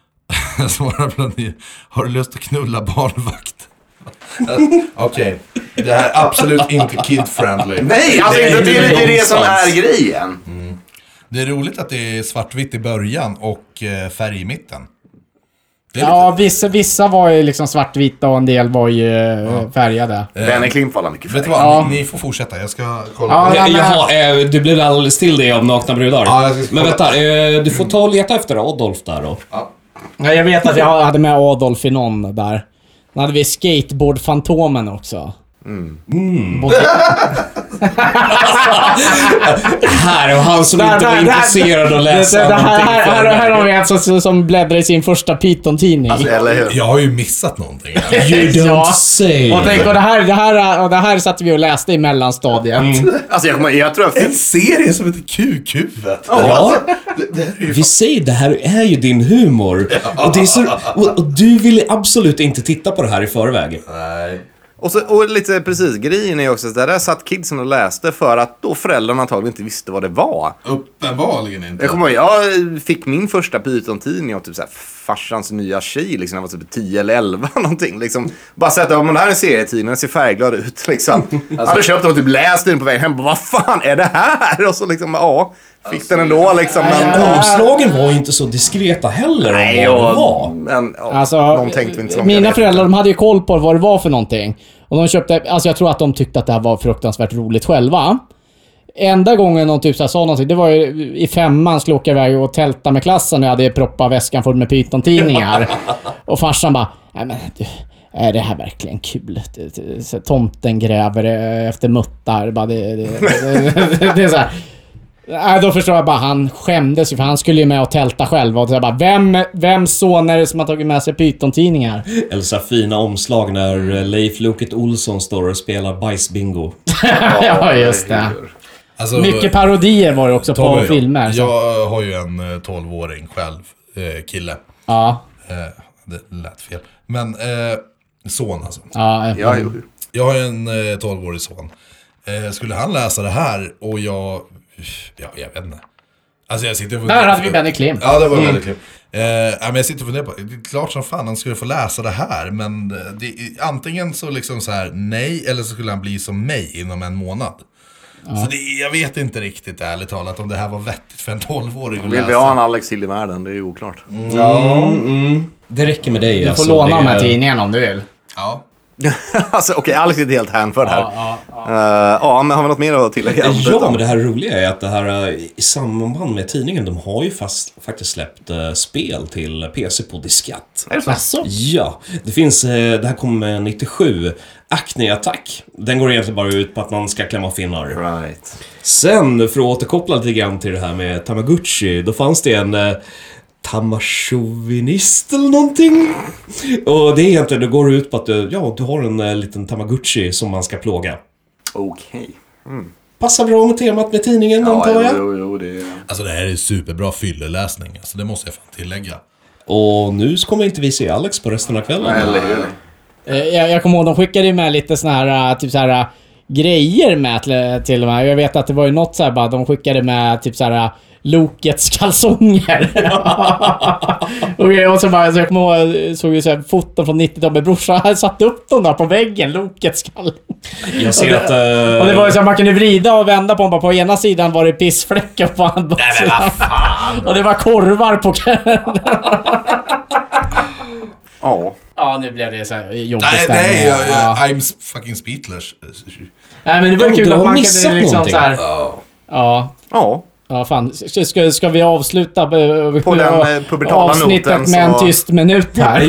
S4: Svarar blondinen. Har du lust att knulla barnvakt? Okej, det här är absolut inte kid-friendly.
S2: Nej, alltså
S4: Det är
S2: inte det är
S4: ju
S2: ju det som
S4: nonsens.
S2: är grejen.
S4: Det är roligt att det är svartvitt i början och eh, färg i mitten. Det är
S5: Ja, vissa, vissa var ju liksom svartvita och en del var ju eh, färgade.
S2: Benny Klimp var alla mycket
S4: Vet du
S2: färg.
S4: vad, ni, ni får fortsätta. Jag ska kolla.
S5: Ja,
S4: på det.
S5: nej,
S3: Ja,
S5: men-
S3: Jaha, eh, du blev alldeles till det av nakna brudar.
S4: Ja, jag ska-
S3: men vänta, eh, du får ta och leta efter Adolf där då.
S5: Ja, jag vet att jag hade med Adolf i någon där. Sen hade vi skateboardfantomen också.
S3: Här, och han som inte var intresserad av att läsa
S5: det, det, det, här,
S3: någonting
S5: här,
S3: för
S5: här, här har
S3: mig.
S5: vi en som, som bläddrar i sin första Python-tidning.
S2: Eller hur?
S4: Jag har ju missat någonting.
S3: You don't
S5: Ja.
S3: say.
S5: och tänk, och det, här, det, här, och det här satt vi och läste i mellanstadiet.
S3: Mm.
S2: Alltså jag, kommer, jag tror jag
S4: En serie som heter Kukhuvudet.
S3: Ja, vi säger det här är ju din humor. Och, det är så, och, och du ville absolut inte titta på det här i förväg.
S4: Nej.
S2: Och, så, och lite precis, grejen är ju också att där satt kidsen och läste för att då föräldrarna antagligen inte visste vad det var.
S4: Uppenbarligen
S2: Jag
S4: inte.
S2: kommer ihåg, jag fick min första Python-tidning av typ så här, farsans nya tjej, liksom, när jag var typ 10 eller 11 någonting. Liksom. Bara sett att ja, men det här är en serietidning, den ser färgglad ut. Liksom. Jag hade köpt den och typ läst den på vägen hem. Bara, Vad fan är det här? Och så liksom, ja, fick den ändå liksom. Men, ja,
S3: Omslagen var ju inte så diskreta heller om vad det var.
S2: men ja,
S5: Alltså,
S2: någon tänkte inte så långt. Jag
S5: mina
S2: vet
S5: föräldrar de hade ju koll på vad det var för någonting. Och de köpte, alltså jag tror att de tyckte att det här var fruktansvärt roligt själva. Enda gången de typ så här sa någonting, det var ju i femman skulle jag åka iväg och tälta med klassen och jag hade proppat väskan full med Python-tidningar. och farsan bara, nej men du, är det här verkligen kul? Det- det- så här, Tomten gräver eh, efter muttar. Bara, det, det, det, det, det är så här. Nej, Äh, då förstår jag bara. Han skämdes ju för han skulle ju med och tälta själv. Och så jag bara, vem, vem son är det som har tagit med sig Python-tidningar?
S3: Eller så här fina omslag när
S5: Mm.
S3: eh, Leif Loket Olsson står och spelar bajsbingo.
S5: ja, just det.
S4: Alltså,
S5: Mycket parodier var det också på
S4: Tommy,
S5: filmer. så-
S4: Jag har ju en eh, 12-åring själv, eh, kille.
S5: Ja.
S4: Eh, det lät fel. Men eh, son alltså.
S5: ja,
S2: Ja, jo.
S4: Jag har ju en eh, 12-årig son. Eh, skulle han läsa det här och jag... Ja, jag vet inte. Alltså jag sitter och funderar.
S5: Där hade vi Benny Mm. Klimp.
S4: Ja, det var väldigt kul. Eh, ja, men jag sitter och funderar på, det är klart som fan han skulle få läsa det här. Men eh, det, antingen så liksom så här nej, eller så skulle han bli som mig inom en månad. Så det, jag vet inte riktigt ärligt talat om det här var vettigt för en 12-åring att
S2: Vill
S4: läsa.
S2: vi ha en Alex Hill i världen? Det är ju oklart.
S3: Det räcker med dig
S5: Du får
S3: alltså.
S5: låna
S3: Det
S5: de här
S3: är-
S5: tidningarna om du vill.
S4: Ja.
S2: alltså okej, Alex är inte helt hänförd här. Ja, men har vi något mer att tillägga?
S3: Ja, men det här roliga är att det här eh, i samband med tidningen, de har ju fast, faktiskt släppt eh, spel till PC på diskett.
S2: Är det så?
S5: Jaså?
S3: Ja, det finns, eh, det här kommer 97, Acne-attack. Den går egentligen bara ut på att man ska klämma finnar.
S2: Right.
S3: Sen, för att återkoppla lite grann till det här med Tamagotchi, då fanns det en eh, Tamashovinist eller någonting. Och det är egentligen, det går ut på att du, ja, du har en eh, liten Tamagotchi som man ska plåga.
S2: Okej.
S3: Passar bra med temat med tidningen, antar
S2: Ja,
S3: jag.
S2: jo, jo, jo, det är...
S4: Alltså det här är superbra fylleläsning, alltså det måste jag fan tillägga.
S3: Och nu så kommer inte vi se Alex på resten av kvällen.
S2: Eller hur?
S5: Eh, Jag, jag kommer ihåg, de skickade ju med lite såna här, äh, typ så här äh, grejer med till, till de här. Jag vet att det var ju något så här bara, de skickade med typ så här Lokets kalsonger. Okej, och så bara, så jag kommer ihåg, jag såg ju så här, foton från 90-talet med brorsan. Han satte upp dem där på väggen, Lokets kalsonger.
S3: Jag ser att... eh,
S5: Och det var ju så här, man kunde vrida och vända på dem. Bara På ena sidan var det pissfläckar på andra sidan. Och det var korvar på
S2: Ja.
S5: Ja, nu blev det så här eh, jobbig
S4: Nej,
S5: stämning.
S4: nej, jag, jag,
S5: Ja.
S4: I'm s- fucking speechless.
S5: Nej, men det var
S3: Jo,
S5: kul
S3: du
S5: att
S3: har
S5: man
S3: missat
S5: kunde liksom
S3: någonting.
S5: så här... Ja,
S2: Ja.
S5: Ja, fan. Ska, ska, ska vi avsluta eh,
S2: På den, eh, pubertala
S5: avsnittet
S2: noten
S5: med en
S2: så-
S5: tyst minut här?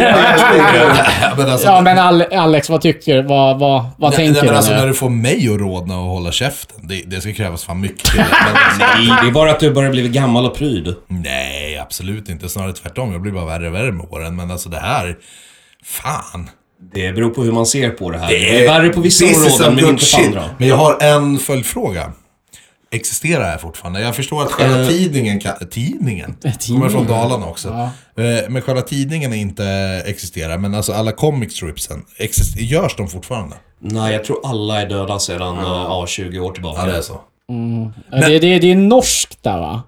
S4: men alltså,
S5: ja, men Ale- Alex, vad tycker du? Vad, vad, vad
S4: nej,
S5: tänker
S4: nej, men alltså,
S5: du
S4: när
S5: nu?
S4: du får mig att rodna och hålla käften, det, det ska krävas fan mycket till. Men alltså,
S3: Nej, eh, det är bara att du börjar bli gammal och pryd.
S4: nej, absolut inte. Snarare tvärtom. Jag blir bara värre och värre med åren. Men alltså det här, fan.
S3: Det beror på hur man ser på det här. Det är värre på vissa
S4: Eh, This is some
S3: områden, men
S4: good
S3: inte på
S4: shit.
S3: andra.
S4: Men jag har en följdfråga. Existerar det här fortfarande? Jag förstår att
S3: Eh,
S4: själva tidningen, kan, tidningen, kommer från Dalarna också. Eh, Men själva tidningen är inte existerar, men alltså alla comic stripsen, exist- görs de fortfarande?
S3: Nej, jag tror alla är döda sedan eh, ja, 20 år tillbaka.
S4: Ja, det är så.
S5: Ja, Det, det, det är norskt där, va?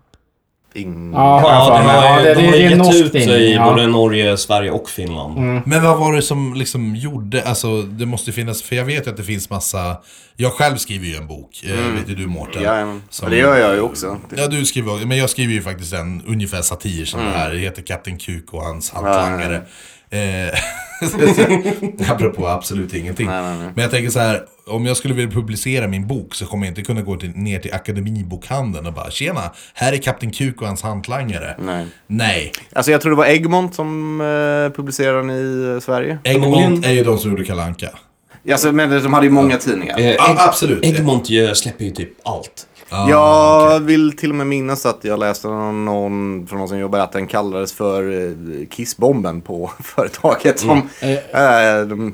S2: Ing-
S5: Ja, har jag
S3: Ja,
S5: för
S3: de
S5: mig.
S3: har,
S5: Ja, det,
S3: de har
S5: det, det är
S3: gett ut
S5: norskt
S3: i
S5: in. Ja.
S3: både Norge, Mm. Sverige och Finland.
S4: Men vad var det som liksom gjorde, alltså det måste finnas, för jag vet ju att det finns massa, jag själv skriver ju en bok, eh,
S3: Mm.
S4: vet ju du Mårten.
S2: Jajamän.
S4: Som-
S2: Ja, det gör jag ju också.
S4: Ja, du skriver men jag skriver ju faktiskt en ungefär satir som
S2: Mm.
S4: det här. Det heter Kapten Kuk och hans hantlangare. Eh, Apropå absolut ingenting. Men jag tänker så här, om jag skulle vilja publicera min bok så kommer jag inte kunna gå till, ner till Akademibokhandeln och bara Tjena, här är Kapten Kuk och hans hantlangare.
S2: Nej.
S4: Nej,
S2: Alltså jag tror det var Egmont som eh, publicerade den i eh, Sverige.
S4: Egmont är ju de som gjorde Kalle Anka.
S2: Alltså, men de hade ju många tidningar.
S3: Eh,
S4: Ja,
S3: Egg-
S4: absolut.
S3: Egmont gör- släpper ju typ allt.
S2: Jag vill till och med minnas att jag läste någon, någon från någon som jobbar att den kallades för eh, kissbomben på företaget. Som, eh, de,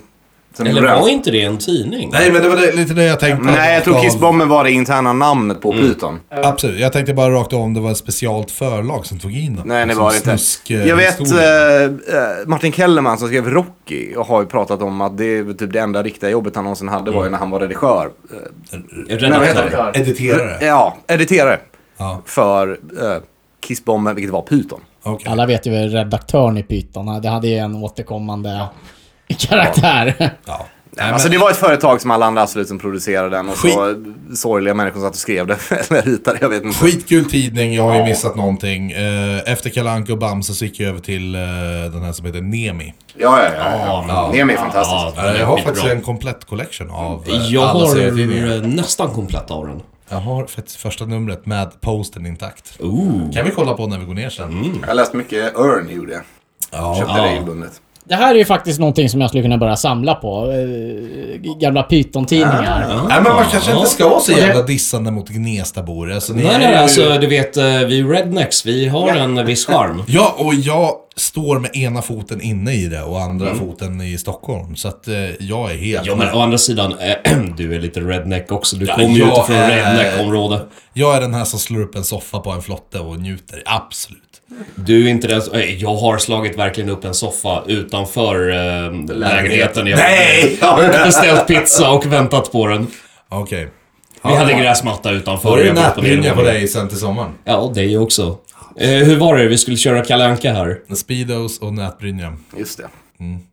S2: som
S3: Eller
S2: gjorde den.
S3: var inte det en tidning?
S4: Nej, men det var det, lite det jag tänkte.
S2: Nej, jag tror
S4: Rakt av.
S2: kissbomben var det interna namnet på Python.
S4: Absolut, jag tänkte bara rakt om det var ett specialt förlag som tog in den.
S2: Nej, det
S4: Som
S2: var det inte.
S4: snusk, eh,
S2: Jag vet
S4: historia.
S2: eh, eh, Martin Kellerman som skrev Rocky och har ju pratat om att det är typ det enda riktiga jobbet han någonsin hade var ju när han var redigör. Nej, vad heter
S3: Redaktör.
S2: det?
S4: Editerare?
S2: Eh, Ja, editerare
S4: Ja,
S2: för eh, kissbomben, vilket var Python.
S4: okej.
S5: Alla vet ju vem redaktören i Python Det hade ju en återkommande karaktär.
S4: Ja.
S2: Alltså det var ett företag som alla andra absolut som producerade den och så sorgliga människor satt och skrev det eller ritade, jag vet inte.
S4: Skitkul tidning, jag har ju missat någonting. Eh, Efter Kalle Anka och Bamse så gick jag över till eh, den här som heter Nemi.
S2: Ja, ja, ja. ja. Nemi är fantastisk.
S3: Ja,
S4: Eh, Jag har
S3: skitbra.
S4: faktiskt en komplett collection av eh,
S3: Jag
S4: alla
S3: har
S4: serietidningar.
S3: eh, nästan komplett av den.
S4: Jag har faktiskt första numret med posten intakt. Kan vi kolla på när vi går ner
S3: Mm.
S4: sen?
S2: Jag läste mycket Earn, gjorde jag. Köpte det regelbundet.
S5: Det här är ju faktiskt någonting som jag skulle kunna börja samla på. eh, Gamla Python-tidningar.
S4: Nej men man kanske inte ska vara så jävla dissande mot Gnestabor. Alltså, ni
S3: Nej,
S4: är
S3: nej,
S4: ju-
S3: alltså du vet, eh, vi rednecks, vi har en viss charm.
S4: Ja, och jag står med ena foten inne i det och andra foten i Stockholm. Så att eh, jag är helt...
S3: Mm. Ja, men å andra sidan, eh, du är lite redneck också. Du kommer ju
S4: jag
S3: inte från
S4: är-
S3: redneck-område.
S4: Jag är den här som slår upp en soffa på en flotte och njuter. Absolut.
S3: Du är inte den som- eh, Jag har slagit verkligen upp en soffa utanför eh, lägenheten. Jag
S4: Nej!
S3: har beställt pizza och väntat på den.
S4: Okej.
S3: Vi hade gräsmatta utanför.
S4: Var det
S3: Jag bodde på
S4: nätbrynja på
S3: nedervåningen.
S4: dig sen till sommaren?
S3: Ja, och dig också. Eh, hur var det? Vi skulle köra Kalle Anka här.
S4: Speedos och nätbrynja.
S2: Just det.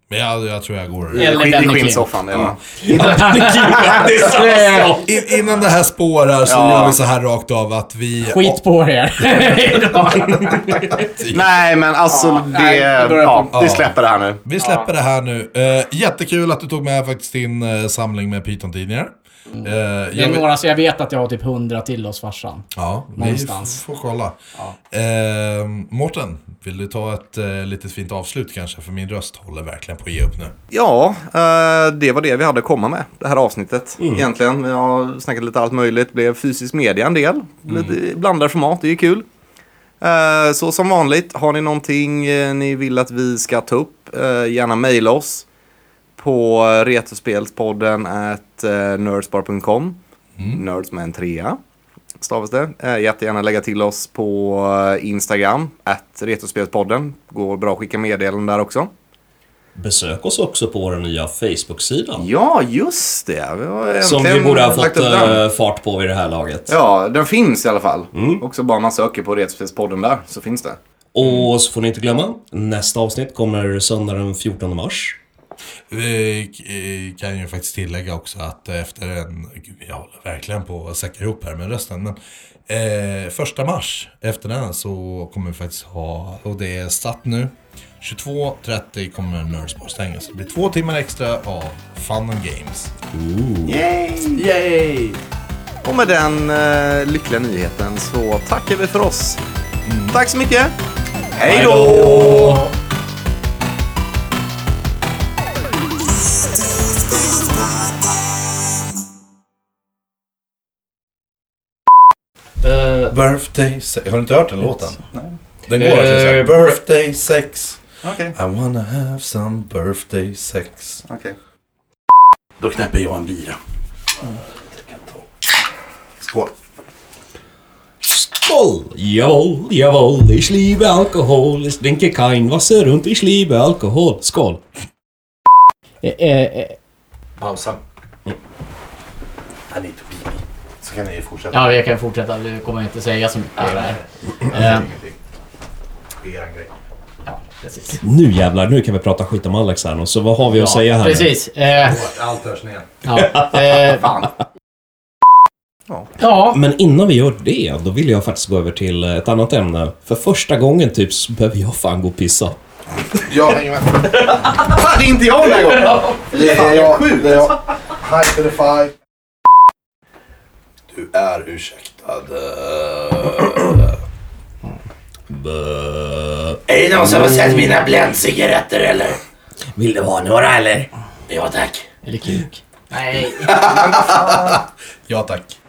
S4: Men jag, jag tror jag går...
S5: Eller
S2: Skit i
S5: Danny
S2: skinnsoffan, det är bra.
S3: det är samma sak.
S4: I- Innan det här spårar så
S2: Ja.
S4: gör vi så här rakt av att vi...
S5: Skit på er.
S2: Nej, men alltså det,
S5: nej, vi börjar
S2: ja, vi släpper det här nu.
S4: Vi släpper det här nu. Eh, jättekul att du tog med faktiskt din eh, samling med Python-tidningar. Eh,
S5: Mm. Det är
S4: jag vet-
S5: några, så jag vet att jag har typ hundra till hos farsan.
S4: Ja,
S5: Någonstans.
S4: vi f- får kolla. Eh, Mårten, vill du ta ett eh, litet fint avslut kanske? För min röst håller verkligen på att ge upp nu.
S2: Ja, eh, det var det vi hade att komma med det här avsnittet egentligen. Vi har snackat lite allt möjligt, blev fysisk media en del. Lite blandade format, det är kul. Eh, Så som vanligt, har ni någonting eh, ni vill att vi ska ta upp, eh, gärna mejla oss på eh, retrospelspodden at eh, nerdspar.com. Nerds med en trea stavas det. Eh, Jättegärna lägga till oss på eh, Instagram, at retrospelspodden. Går bra att skicka meddelanden där också.
S3: Besök oss också på vår nya Facebook-sida.
S2: Ja, just det. Vi har
S3: Som vi
S2: äntligen
S3: borde ha
S2: lagt
S3: fått
S2: upp den.
S3: eh, fart på vid det här laget.
S2: Ja, den finns i alla fall. Också bara man söker på Retspelspodden där så finns det.
S3: Och så får ni inte glömma, nästa avsnitt kommer söndagen den 14 mars.
S4: Vi eh, kan ju faktiskt tillägga också att efter en, gud jag håller verkligen på att säcka ihop här med rösten, men eh, första mars efter den så kommer vi faktiskt ha, och det är satt nu, 22.30 kommer Nördspår stängas. Det blir två timmar extra av Fun and Games.
S2: Yay! Yay! Och med den eh, lyckliga nyheten så tackar vi för oss. Tack så mycket! Mm. Hej då!
S4: Birthday sex. Har du inte hört den låten? Nej. Den går alltså såhär. Birthday sex.
S2: Okej.
S4: I wanna have some birthday sex.
S2: Okej. Mm.
S4: Då knäpper jag en bira. Skål.
S3: Skål! Jawohl, jawohl, ich liebe alkohol, ich trinke kein Wasser und ich liebe alkohol. Skål!
S5: Eh, eh, eh, Mm.
S4: Pausa. Han är lite pipig. Så kan ni fortsätta.
S5: ja, jag kan fortsätta. Du kommer inte säga så mycket. Eh,
S4: Det är en grej.
S5: ja, precis.
S3: Nu jävlar, nu kan vi prata skit om Alex här nu, så vad har vi att säga här? nu?
S5: Precis. Eh,
S4: Allt hörs ner.
S5: ja, eh,
S2: Fan.
S5: ja,
S3: Men innan vi gör det, då vill jag faktiskt gå över till eh, ett annat ämne. För första gången typ så behöver jag fan gå och pissa.
S4: Jag hänger med.
S2: Fan, det är inte jag den här gången!
S4: Det är jag. Det är jag. High to the five. Du är ursäktad.
S9: Är det någon som har sett mina bländcigaretter eller? Vill du ha några eller? Ja tack.
S5: Eller kuk. Nej.
S4: Ja tack.